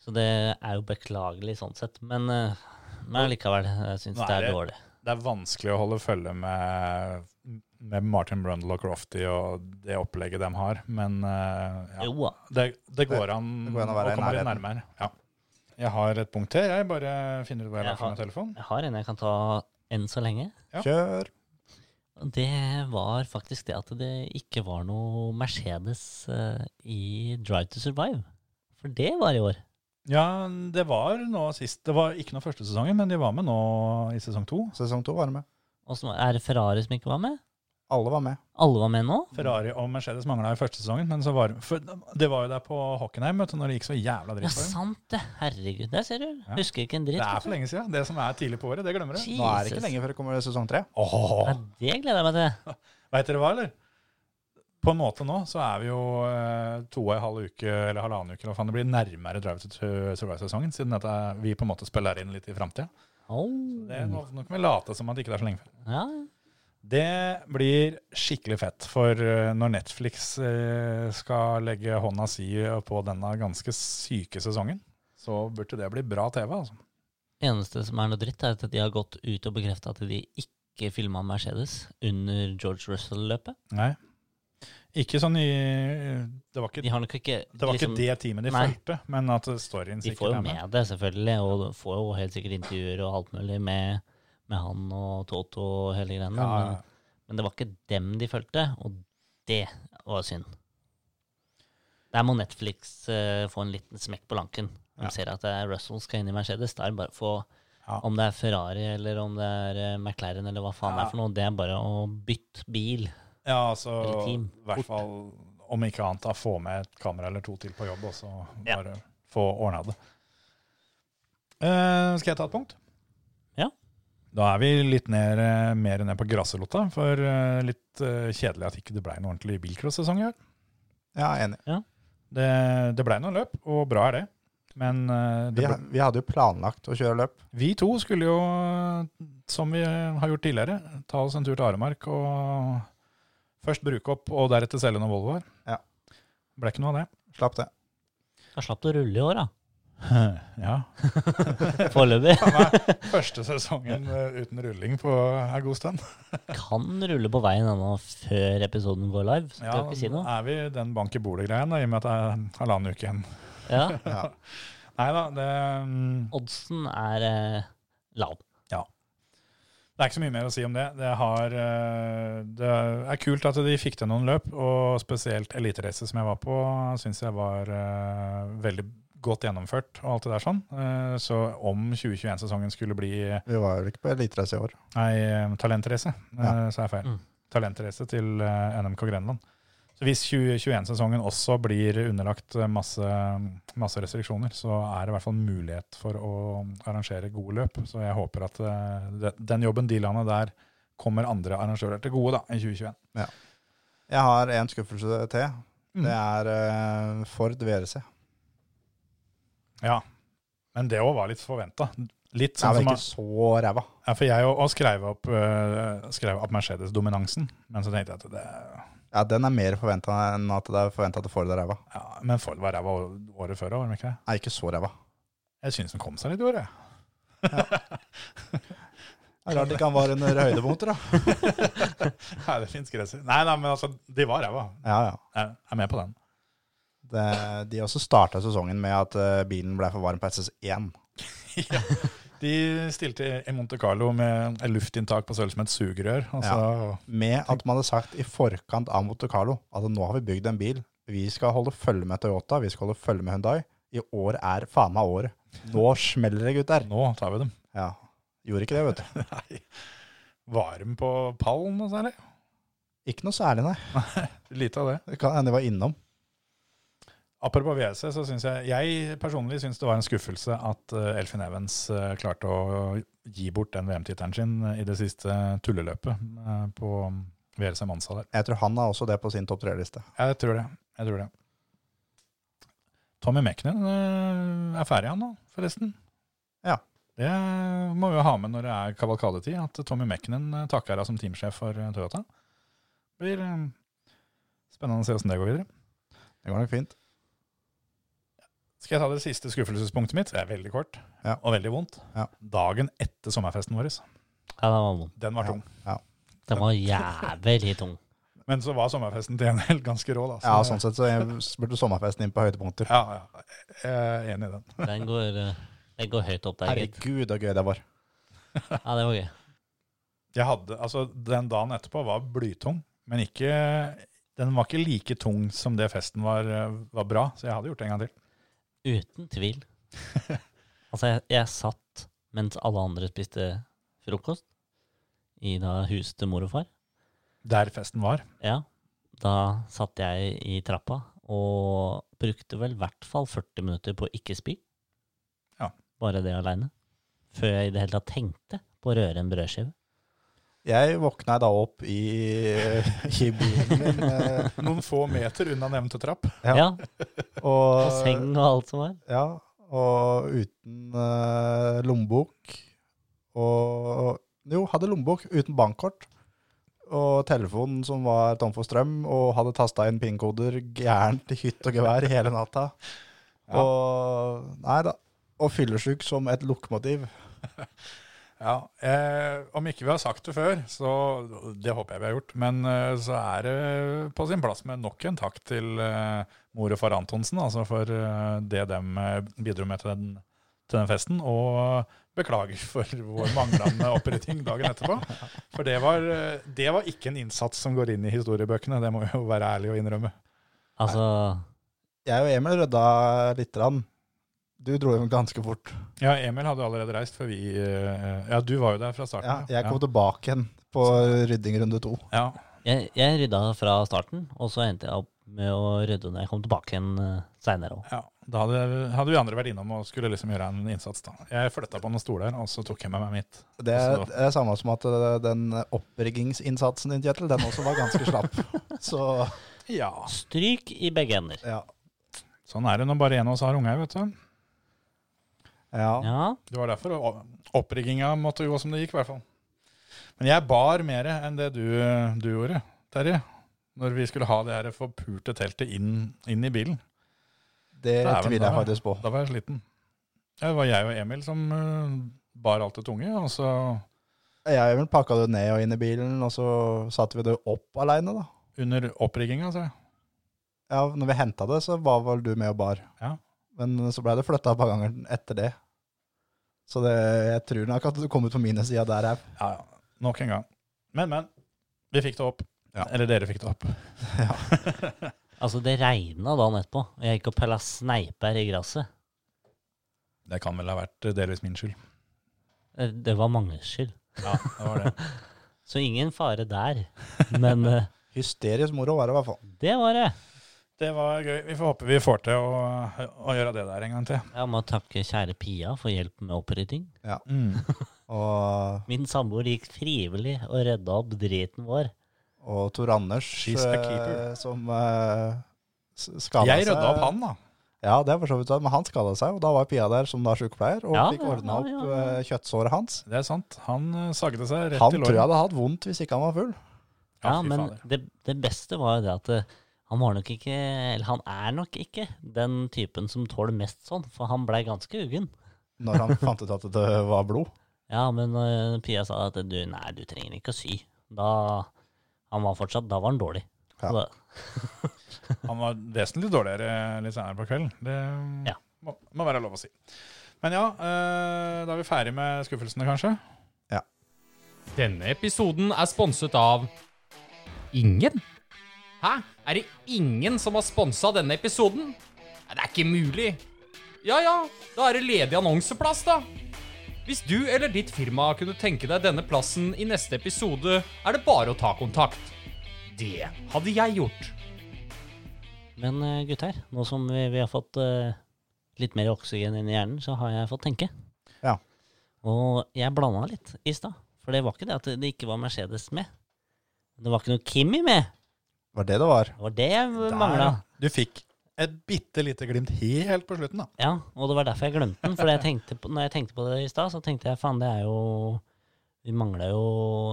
Så det er jo beklagelig sånn sett, men, eh, men likevel, jeg syns
Nå
det
er
er
det-
dårlig.
det er vanskelig å holde følge med, med Martin Brundle og Crofty og det opplegget de har, men eh, ja.
Jo da.
det, det går an
det går an å være i
komme litt
nærheten.
nærmere. Ja. Jeg har et punkt til. Jeg bare finner ut hva jeg
Jeg
har for
har-
meg telefon.
Jeg har en jeg kan ta enn så lenge.
Ja.
Kjør.
Og Det var faktisk det at det ikke var noe Mercedes eh, i Drive to Survive. For det var i år.
Ja, det var nå sist. Det var ikke noe første sesongen, men de var med nå i sesong to.
Sesong to var med.
Og så er det Ferrari som ikke var med.
Alle var med.
Alle var med nå.
Ferrari og Mercedes mangla i første sesongen, men så var for, det var jo der på Hockenheim vet du, når det gikk så jævla
Ja,
dritt for dem.
sant det. Herregud, der ser du. Husker ikke en dritt.
Det er
vet
for lenge siden. Det som er tidlig på året, det glemmer
du.
du.
Jesus.
Nå er det ikke lenge før det kommer sesong tre.
Åh.
Ja, det gleder jeg meg til.
Veit dere hva, eller? På en måte nå så er vi jo eh, to og en halv uke eller halvannen uke, eller hva faen det blir, nærmere Drive to Survive-sesongen, siden dette, vi på en måte spiller inn litt i framtida. Nå,
Oh.
nå kan vi late som at det ikke er så lenge før.
Ja,
Det blir skikkelig fett, for eh, når Netflix eh, skal legge hånda si eh, på denne ganske syke sesongen, så burde det bli bra TV, altså.
eneste som er noe dritt, er at de har gått ut og bekrefta at de ikke filma Mercedes under George Russell-løpet.
Nei. Ikke sånn i Det var ikke
De
det,
har nok ikke
var
liksom-
ikke det teamet de
Nei.
fulgte, men at storyen
De
sikkert
får jo
er med.
med det, selvfølgelig, og de får jo helt sikkert intervjuer og alt mulig med, med han og Toto og hele greiene.
Ja, ja.
Men, men det var ikke dem de fulgte, og det var synd. Der må Netflix eh, få en liten smekk på lanken. De
Ja.
ser at det er Russell skal inn i Mercedes. Da er det bare å få
Ja.
Om det er Ferrari eller om det er eh, McLaren eller hva faen
Ja.
det er for noe, det er bare å bytte bil.
Ja, altså
Eller
i
team.
hvert fall om ikke annet da få med et kamera eller to til på jobb, og så bare få ordna det. Eh, skal jeg ta et punkt?
Ja.
Da er vi litt ned, eh, mer ned på grasrota, for eh, litt eh, kjedelig at ikke det ble noen ordentlig bilcross-sesong i år.
Ja, enig.
Det, det ble noen løp, og bra er det. Men eh,
Vi,
det ble,
vi hadde jo planlagt å kjøre løp.
vi to skulle jo, som vi har gjort tidligere, ta oss en tur til Aremark og først bruke opp og deretter selge noen Volvoer.
Ja.
Ble ikke noe av det.
Slapp det.
Jeg slapp å rulle i år, da.
Ja.
Foreløpig.
Første sesongen eh, uten rulling på en god stund.
Kan rulle på veien ennå før episoden går live. så
Ja,
Skal ikke si
nå
noe.
er vi i den bank i bordet-greien, da, i og med at det er halvannen uke igjen.
Ja,
Nei da, det, mm,
Oddsen er eh, lav.
det er ikke så mye mer å si om det. Det, har, eh, det er kult at de fikk til noen løp, og spesielt eliteracet som jeg var på, syns jeg var eh, veldig godt gjennomført og alt det der sånn. Eh, så om 2021-sesongen skulle bli eh,
Vi var vel ikke på eliterace i år.
Nei, eh, talentrace, eh,
Ja.
så er jeg feil.
Mm.
Talentrace til eh, NMK Grenland. Så hvis 2021-sesongen også blir underlagt eh, masse, masse restriksjoner, så er det i hvert fall en mulighet for å arrangere gode løp. Så jeg håper at eh, de- den jobben de landene der kommer andre arrangører til gode da, i 2021.
Jeg har en skuffelse til.
Mm.
Det er eh, Ford VRC.
Ja, men det òg var litt forventa. Litt
Det
sånn som
er vel ikke så ræva.
ja, for jeg òg skrev opp, eh, skrev opp Mercedes-dominansen, men så tenkte jeg at det
Ja, den er mer forventa enn at det er forventa at Ford er ræva.
ja, Men Ford var ræva året før òg, var de ikke det?
Nei, ikke så ræva.
Jeg syns den kom seg litt i år, jeg.
Det er Rart ikke han var under høydepunkter, da.
Nei, det fins gresser. Nei, nei, men altså, de var ræva.
Ja, ja.
Jeg er med på den.
Det, de også starta sesongen med at eh, bilen ble for varm på SS1.
De stilte i Monte Carlo med et luftinntak på størrelse med et sugerør. og så-
Med at man hadde sagt i forkant av Monte Carlo at nå har vi bygd en bil. Vi skal holde følge med Toyota, vi skal holde følge med Hyundai. I år er faen meg året. Nå smeller det, gutter.
Nå tar vi dem.
Ja. Gjorde ikke det, vet du.
Nei. Var de på pallen noe særlig?
Ikke noe særlig, nei.
Lite av det.
Det kan hende de var innom.
Apropos WC, så syns jeg jeg personlig syns det var en skuffelse at eh, Elfin Evans eh, klarte å gi bort den VM-tittelen sin eh, i det siste tulleløpet eh, på WC Mansa der.
Jeg tror han har også det på sin topp tre-liste.
Jeg tror det. Jeg tror det. Tommy Meknen eh, er ferdig han nå, forresten.
Ja.
Det må vi jo ha med når det er kavalkadetid, at Tommy Meknen eh, takker av som teamsjef for eh, Toyota. Blir eh, spennende å se hvordan det går videre.
Det går nok fint.
Skal jeg ta det siste skuffelsespunktet mitt? Det er veldig kort
Ja.
og veldig vondt.
Ja.
Dagen etter sommerfesten vår, altså.
Ja, den var vond.
den var
Ja.
tung.
Den var jævlig tung.
Men så var sommerfesten til en helt ganske rå, da.
Ja, sånn sett så jeg burde sommerfesten inn på høydepunkter.
Ja, ja. Jeg er enig i den.
Den går, eh, den går høyt opp der, gitt.
Herregud, så gøy det var.
Ja, det var gøy.
Jeg hadde, altså Den dagen etterpå var blytung, men ikke, den var ikke like tung som det festen var, eh, var bra. Så jeg hadde gjort det en gang til.
Uten tvil. Altså, jeg, jeg satt mens alle andre spiste frokost i da huset til mor og far.
Der festen var.
Ja, da satt jeg i trappa og brukte vel i hvert fall 40 minutter på å ikke spy.
Ja.
Bare det aleine. Før jeg i det hele tatt tenkte på å røre en brødskive.
Jeg våkna da opp i, i bilen min, eh,
Noen få meter unna nevnte trapp.
Ja.
Ja. Og
og,
seng og alt som var.
ja, og uten eh, lommebok. Og jo, hadde lommebok uten bankkort. Og telefonen som var tom for strøm, og hadde tasta inn pinkoder gærent i hytt og gevær hele natta.
Ja.
Og nei da. Og fyllesyk som et lokomotiv.
Ja, eh, Om ikke vi har sagt det før, så det håper jeg vi har gjort, men eh, så er det på sin plass med nok en takk til eh, mor og far Antonsen altså for eh, det de bidro med til den, til den festen. Og beklager for vår manglende opprydding dagen etterpå. For det var, eh, det var ikke en innsats som går inn i historiebøkene, det må vi jo være ærlig og innrømme.
Altså,
Jeg og Emil rydda lite grann. Du dro jo ganske fort.
Ja, Emil hadde allerede reist før vi eh, Ja, du var jo der fra
Ja,
starten.
jeg kom tilbake igjen på rydding runde to.
ja.
jeg, jeg rydda fra starten, og så endte jeg opp med å rydde når jeg kom tilbake igjen eh, seinere òg.
Ja, da hadde, hadde vi andre vært innom og skulle liksom gjøre en innsats. da. Jeg flytta på noen stoler, og så tok jeg med meg mitt.
Det er
Så-
det er samme som at eh, den oppriggingsinnsatsen din, Kjetil, den også var ganske slapp. Så
Ja.
Stryk i begge ender.
ja.
Sånn er det når bare en av oss har unger, vet du.
ja.
Ja.
Det var derfor o- opprigginga måtte gå som det gikk, i hvert fall. Men jeg bar mer enn det du, du gjorde, Terje. Når vi skulle ha det her forpurte teltet inn, inn i bilen.
Det
Dæven,
tviler
da
jeg
var-
faktisk på.
Da var jeg sliten. Ja, det var jeg og Emil som eh, bar alt det tunge, og så
Jeg vel pakka det ned og inn i bilen, og så satte vi det opp aleine, da.
under opprigginga, så jeg.
Ja, når vi henta det, så var vel du med og bar.
Ja.
Men så blei det flytta et par ganger etter det. Så det, jeg tror nok at du kom ut på minussida der òg.
Ja, ja. Nok en gang. Men, men. Vi fikk det opp. Eller dere fikk det opp.
Altså, det regna dagen etterpå, og jeg gikk og pella sneiper i gresset.
Det kan vel ha vært delvis min skyld.
Eh, Det var manges skyld.
Ja, det var det.
Så ingen fare der. Men eh,
Hysterisk moro var det i hvert fall.
det var det.
Det var gøy. Vi får håpe vi får til å, å gjøre det der en gang til.
Jeg må takke kjære Pia for hjelp med opprydding.
Mm.
Og,
Min samboer gikk frivillig og redda opp driten vår.
og Tor Anders,
She's a keeper.
eh, som eh, s- skada
Jeg rydda opp han, da.
Ja, det er for så vidt sant, men han skada seg, og da var Pia der som da sykepleier, og
Ja,
fikk
ja,
ordna
ja,
opp
ja.
eh, kjøttsåret hans.
Det er sant. Han eh, sagde seg rett
Han
i
tror jeg
låret.
hadde hatt vondt hvis ikke han var full.
Ja,
fy
men
fader.
det, det beste var jo det at eh, han var nok ikke, eller han er nok ikke, den typen som tåler mest sånn, for han blei ganske uggen.
Når han fant ut at det var blod.
Ja, men eh, Pia sa at du, nei, du trenger ikke å sy. Da, han var fortsatt, da var han dårlig.
Ja.
Så Da,
Han var vesentlig dårligere eh, litt senere på kvelden. Det
Ja.
må, må være lov å si. Men ja, eh, da er vi ferdig med skuffelsene, kanskje.
Denne episoden er sponset av Ingen? Hæ? Er det ingen som har sponsa denne episoden? Nei, det er ikke mulig. Ja ja, da er det ledig annonseplass, da. Hvis du eller ditt firma kunne tenke deg denne plassen i neste episode, er det bare å ta kontakt. Det hadde jeg gjort.
Men eh, gutter, nå som vi, vi har fått eh, litt mer oksygen inn i hjernen, så har jeg fått tenke.
Ja.
Og jeg blanda litt i stad. For det var ikke det at det ikke var Mercedes med. Det var ikke noe Kimi med.
Det var det det var.
Det var det jeg mangla.
Du fikk et bitte lite glimt helt på slutten, da.
Ja, og det var derfor jeg glemte den. For jeg tenkte på, når jeg tenkte på det i stad, så tenkte jeg faen, det er jo Vi mangla jo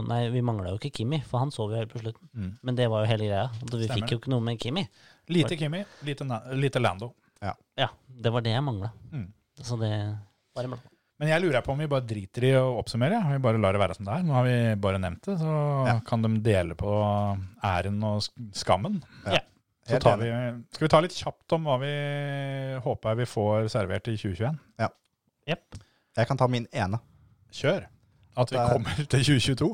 Nei, vi mangla jo ikke Kimi, for han sov jo helt på slutten.
Mm.
Men det var jo hele greia. at Vi
Stemmer
fikk jo ikke noe med Kimi.
Lite Kimi, lite, Na- lite Lando.
Ja, det var det jeg mangla.
Mm.
Så det var en blant.
Men jeg lurer på om vi bare driter i å oppsummere. ja. Vi bare lar det være som det er. Nå har vi bare nevnt det, så kan de dele på æren og sk- skammen.
Ja.
Så
Helt
tar vi, skal vi ta litt kjapt om hva vi håper vi får servert i 2021?
Jepp.
Jeg kan ta min ene.
Kjør! At vi
Det er-
kommer til 2022.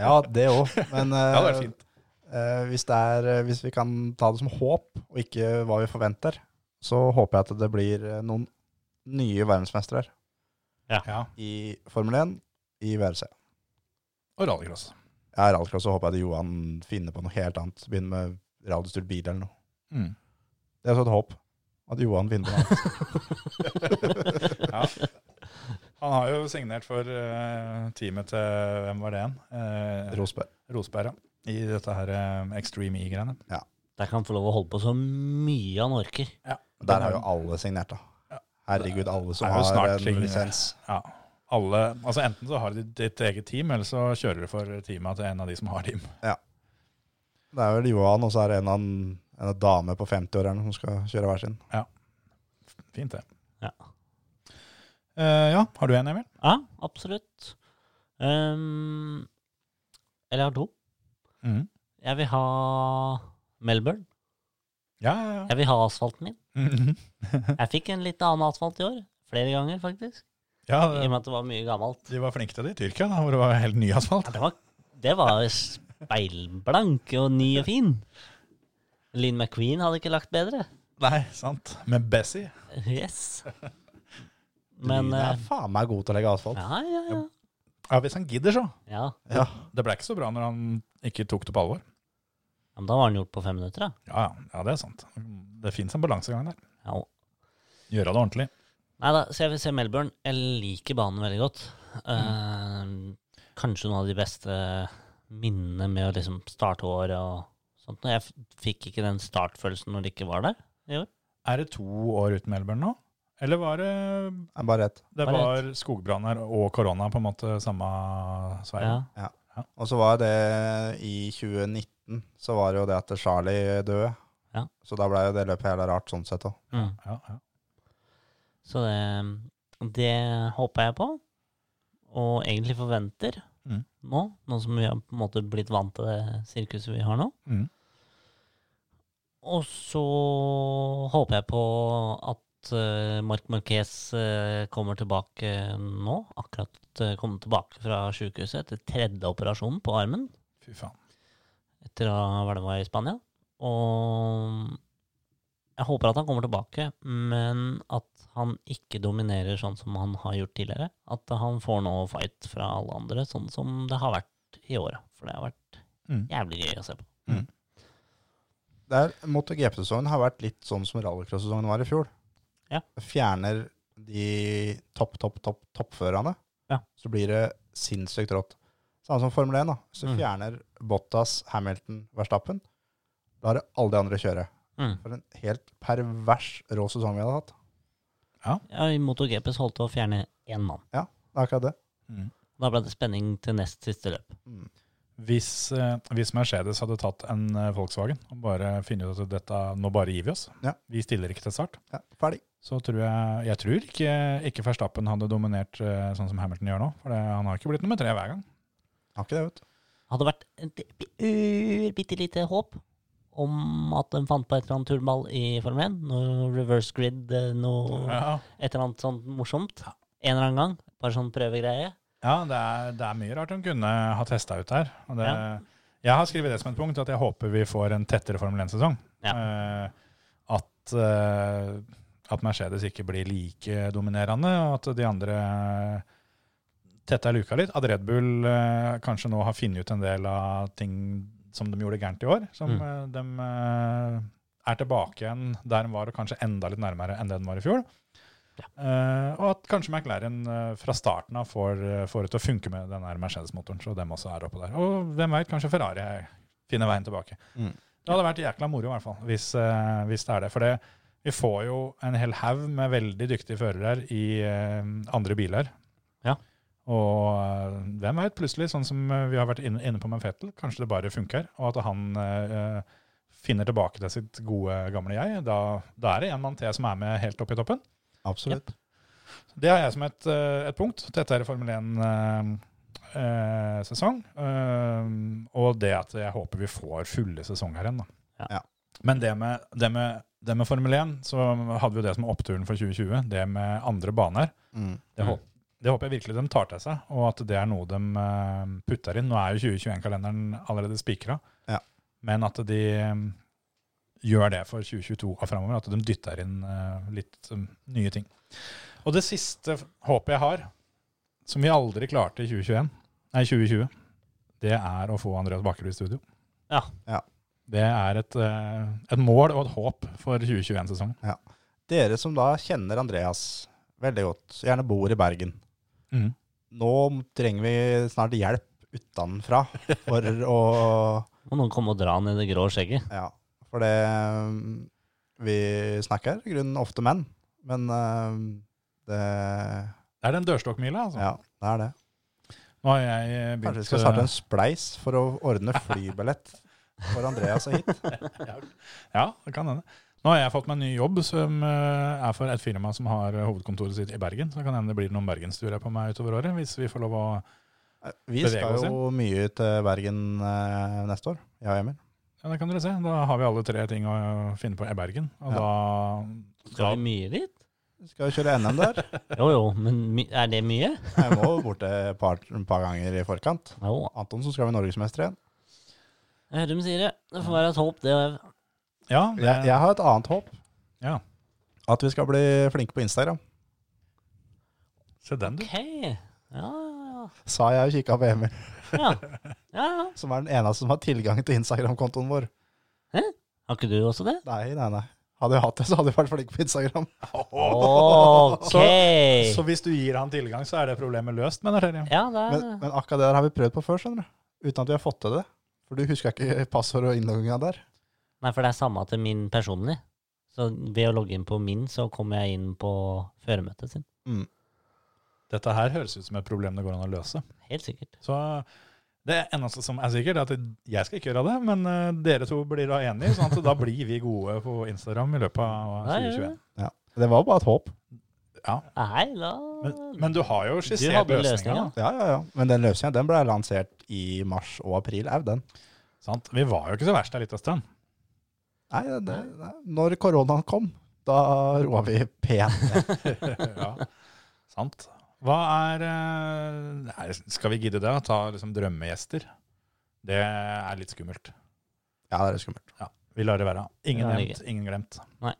Ja, det òg. Men eh,
Ja, det er fint.
eh, hvis, det er, eh, hvis vi kan ta det som håp, og ikke hva vi forventer, så håper jeg at det blir eh, noen nye verdensmestere
Ja.
i Formel 1 i VRC.
Og rallycross.
Jeg er rallcross og håper at Johan finner på noe helt annet. Begynner med radiostyrt bil eller noe.
Mm.
Det er så et håp. At Johan vinner noe annet.
Ja. Han har jo signert for eh, teamet til Hvem var det igjen? Eh,
Rosberg.
Rosberg, ja. I dette her eh, Extreme E-greiene.
Der kan han få lov å holde på så mye han orker.
Der har jo alle signert, da. Herregud, alle som
Det er jo snart
har en
ting-
lisens.
Ja. Alle, altså enten så har de ditt eget team, eller så kjører du for teamet til en av de som har team.
Det er vel Johan, og så er det en, annen- en dame på 50-årene som skal kjøre hver sin.
Fint, det.
Ja.
Eh, ja, har du en, Emil?
Ja, absolutt. Ehm, eller jeg har to. Mm.
Mhm.
Jeg vil ha Melbourne.
Ja, ja, ja.
Jeg vil ha asfalten min.
Mhm.
Jeg fikk en litt annen asfalt i år. Flere ganger, faktisk.
ja
I og
det,
med at det var mye gammelt.
de var flinke til det i Tyrkia, da, hvor det var helt ny asfalt.
Ja, det, var, det var speilblank og ny og fin. Linn McQueen hadde ikke lagt bedre.
Nei, sant. Med Bessie.
Yes. Men
Lyden er
eh,
faen meg god til å legge asfalt.
Ja, ja, ja.
Ja, Hvis han gidder, så.
ja.
Ja.
Det ble ikke så bra når han ikke tok det på alvor.
Men da var den gjort på fem minutter, da.
Ja, ja, ja det er sant. Det fins en balansegang der.
Ja,
Gjøre det ordentlig.
Nei da, så jeg vil se Melbourne. Jeg liker banen veldig godt. Eh, kanskje noen av de beste minnene med å liksom starte året og sånt. Og Jeg f- fikk ikke den startfølelsen når det ikke var der.
Er det to år uten Melbourne nå? Eller var det
Det er bare rett.
Det
Var det
var skogbranner og korona på en måte samme svei?
Ja.
Og så var det i 2019, så var det jo det at Charlie døde.
Ja.
Så da ble jo det løpet jævla rart sånn sett òg.
Mm.
Ja, ja.
Så det, det håper jeg på, og egentlig forventer
Mm.
nå, nå som vi har på en måte blitt vant til det sirkuset vi har nå.
Mm.
Og så håper jeg på at eh, Marc Marquez eh, kommer tilbake nå, akkurat uh, kommet tilbake fra sykehuset etter tredje operasjon på armen,
Fy faen.
etter å ha vært med i Spania. Og jeg håper at han kommer tilbake, men at han ikke dominerer sånn som han har gjort tidligere. At han får noe fight fra alle andre, sånn som det har vært i år. For det har vært
Mm.
jævlig gøy å se på.
Der MotoGP-sesongen har vært litt sånn som rallycross-sesongen var i fjor.
Ja.
Fjerner de topp, topp, topp, toppførerne,
Ja.
så blir det sinnssykt rått. Samme som Formel 1. da. Hvis du
Mm.
fjerner Bottas, Hamilton, Verstappen, lar det alle de andre kjøre.
Mm.
For en helt pervers rå sesong vi hadde hatt.
Ja, I MotoGP så holdt det å fjerne én mann.
Det er akkurat det.
Da ble det spenning til nest siste løp.
Hvis, eh, hvis Mercedes hadde tatt en eh, Volkswagen og bare funnet ut at dette, nå bare gir vi oss,
Ja.
vi stiller ikke til start,
Ja, ferdig.
så tror jeg Jeg tror ikke, ikke Verstappen hadde dominert eh, sånn som Hamilton gjør nå. For det, han har ikke blitt nummer tre hver gang.
Har ikke det, vet du.
Hadde vært et bitte lite håp om at de fant på et eller annet tullball i Formel 1. Noe reverse grid, eh, noe
Ja,
et eller annet sånt morsomt. En eller annen gang. Bare sånn prøvegreie.
det, er, det er mye rart de kunne ha testa ut her. Og det, Jeg har skrevet det som et punkt, at jeg håper vi får en tettere Formel 1-sesong. Eh, at, eh, at Mercedes ikke blir like dominerende, og at de andre tetter luka litt. At Red Bull eh, kanskje nå har funnet ut en del av ting som de gjorde gærent i år. Som
Mm.
eh, de eh, er tilbake igjen der de var, og kanskje enda litt nærmere enn det de var i fjor. Eh, og at kanskje McLaren eh, fra starten av får, eh, får det til å funke med den her Mercedes-motoren. så dem også er oppe der. Og hvem vet, kanskje Ferrari finner veien tilbake.
Mm.
Det hadde vært jækla moro i hvert fall, hvis, eh, hvis det er det. For det, vi får jo en hel haug med veldig dyktige førere i eh, andre biler.
Ja.
Og eh, hvem vet, plutselig, sånn som eh, vi har vært inne, inne på med Fettel, kanskje det bare funker, og at han eh, finner tilbake til sitt gode, gamle jeg. Da, da er det en mann til som er med helt opp i toppen.
Absolutt.
Det har jeg som et, eh, et punkt. Dette er Formel eh, 1-sesong. Eh, og det at jeg håper vi får fulle sesonger igjen. Da.
Ja.
Men det med, det, med, det med Formel 1, så hadde vi det som oppturen for 2020. Det med andre baner.
Mm.
Det,
Mm.
håper, det håper jeg virkelig de tar til seg, og at det er noe de eh, putter inn. Nå er jo 2021-kalenderen allerede spikra,
Ja.
men at de eh, gjør det for 2022 og framover, at de dytter inn eh, litt eh, nye ting. Og det siste håpet jeg har, som vi aldri klarte i 2021, nei, 2020, det er å få Andreas Bakkerud i studio.
Ja.
Ja.
Det er et, eh, et mål og et håp for 2021-sesongen.
Dere som da kjenner Andreas veldig godt, gjerne bor i Bergen.
Mm.
Nå trenger vi snart hjelp utenfra for å
Må noen komme og dra han i det grå skjegget.
Ja, for det um, Vi snakker i grunnen ofte menn, men um, det
Det er den dørstokkmila, altså.
Ja, det er det.
Nå har jeg eh, begynt
Kanskje vi skal starte en spleis for å ordne flybillett for Andreas og hit.
Ja, det kan hende. Nå har jeg fått meg en ny jobb som eh, er for et firma som har eh, hovedkontoret sitt i Bergen. Så det kan hende det blir noen bergensturer på meg utover året, hvis vi får lov å
Eh, Vi
Bevege
skal
oss
jo mye til Bergen eh, neste år, jeg og Emil.
Ja, det kan dere se. Da har vi alle tre ting å eh, finne på i Bergen. Og
Ja.
da
Skal vi mye dit?
Vi skal jo kjøre NM der.
Jo jo, men my er det mye?
Jeg må bort et par, et par ganger i forkant.
Jo.
Anton, så skal vi norgesmester igjen.
Jeg hører de sier det. Det får være et håp, det.
Ja, det,
Jeg, jeg har et annet håp.
Ja.
At vi skal bli flinke på Instagram.
se den, du.
OK. Ja, ja,
Sa jeg og kikka på Emil,
ja. ja, ja.
som er den eneste som har tilgang til Instagram-kontoen vår.
Har ikke du også det?
Nei, nei, nei. Hadde jeg hatt det, så hadde jeg vært flink på Instagram.
OK!
Så hvis du gir han tilgang, så er det problemet løst, mener dere?
Ja, det er
Men, men akkurat det der har vi prøvd på før, skjønner du. Uten at vi har fått til det. For du huska ikke passordet og innlogginga der.
Nei, for det er samme til min personlig. Så ved å logge inn på min, så kommer jeg inn på føremøtet sin.
Dette her høres ut som et problem det går an å løse.
Helt sikkert.
Så Det eneste som er sikkert, er at jeg skal ikke gjøre det, men eh, dere to blir da enige, sånn at da blir vi gode på Instagram i løpet av
Nei,
2021.
Ja. Det var bare et håp.
Nei, da
Men, men du har jo
Du
skissert
hadde
løsninga.
løsningen.
Ja, ja, ja. Men den løsninga den ble lansert i mars og april au, den.
Sant? Vi var jo ikke så verst der lite stund.
Nei, det, nei, når koronaen kom, da roa vi pent ned.
ja, sant. Hva er eh, nei, Skal vi gidde det? å Ta liksom drømmegjester? Det er litt skummelt.
Ja, det er skummelt.
Ja, Vi lar det være. Ingen
Ja, det er
nevnt, ingen glemt.
Nei.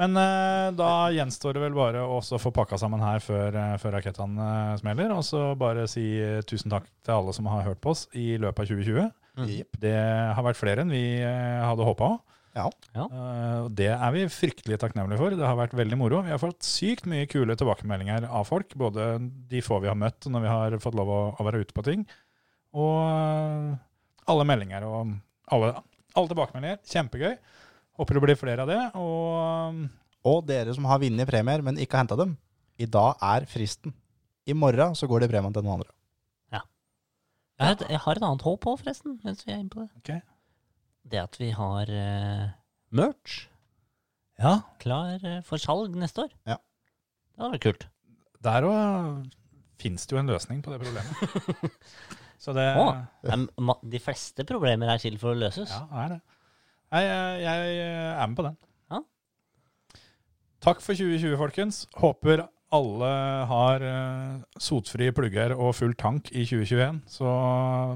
Men eh, da gjenstår det vel bare å også få pakka sammen her før, eh, før rakettene eh, smeller. Og så bare si eh, tusen takk til alle som har hørt på oss i løpet av 2020.
Jepp.
Det har vært flere enn vi eh, hadde håpa.
Ja.
Eh, og det er vi fryktelig takknemlige for. Det har vært veldig moro. Vi har fått sykt mye kule tilbakemeldinger av folk. Både de få vi har møtt når vi har fått lov å, å være ute på ting, og eh, alle meldinger og alle, alle tilbakemeldinger. Kjempegøy. Håper det blir flere av det. Og mm,
Og dere som har vunnet premier, men ikke henta dem, i dag er fristen. I morgen så går det premien til noen andre.
Jeg har, et, jeg har et annet håp òg, forresten, mens vi er inne på det.
Ok.
Det at vi har eh, merch
ja,
klar eh, for salg neste år.
Ja.
Det hadde vært kult.
der òg fins det jo en løsning på det problemet. Så det
Å. Nei, men ma- de fleste problemer er til for å løses.
Ja, det er det. Nei, jeg, jeg eh, er med på den.
Ja.
Takk for 2020, folkens. Håper alle har eh, sotfrie plugger og full tank i 2021. Så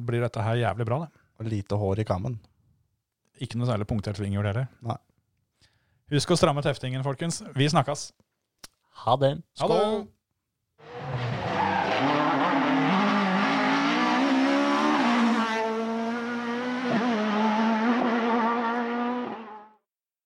blir dette her jævlig bra, det.
Og lite hår i kammen.
Ikke noe særlig punktert svinghjul heller.
Nei.
Husk å stramme teftingen, folkens. Vi snakkes.
Ha det.
Ha det!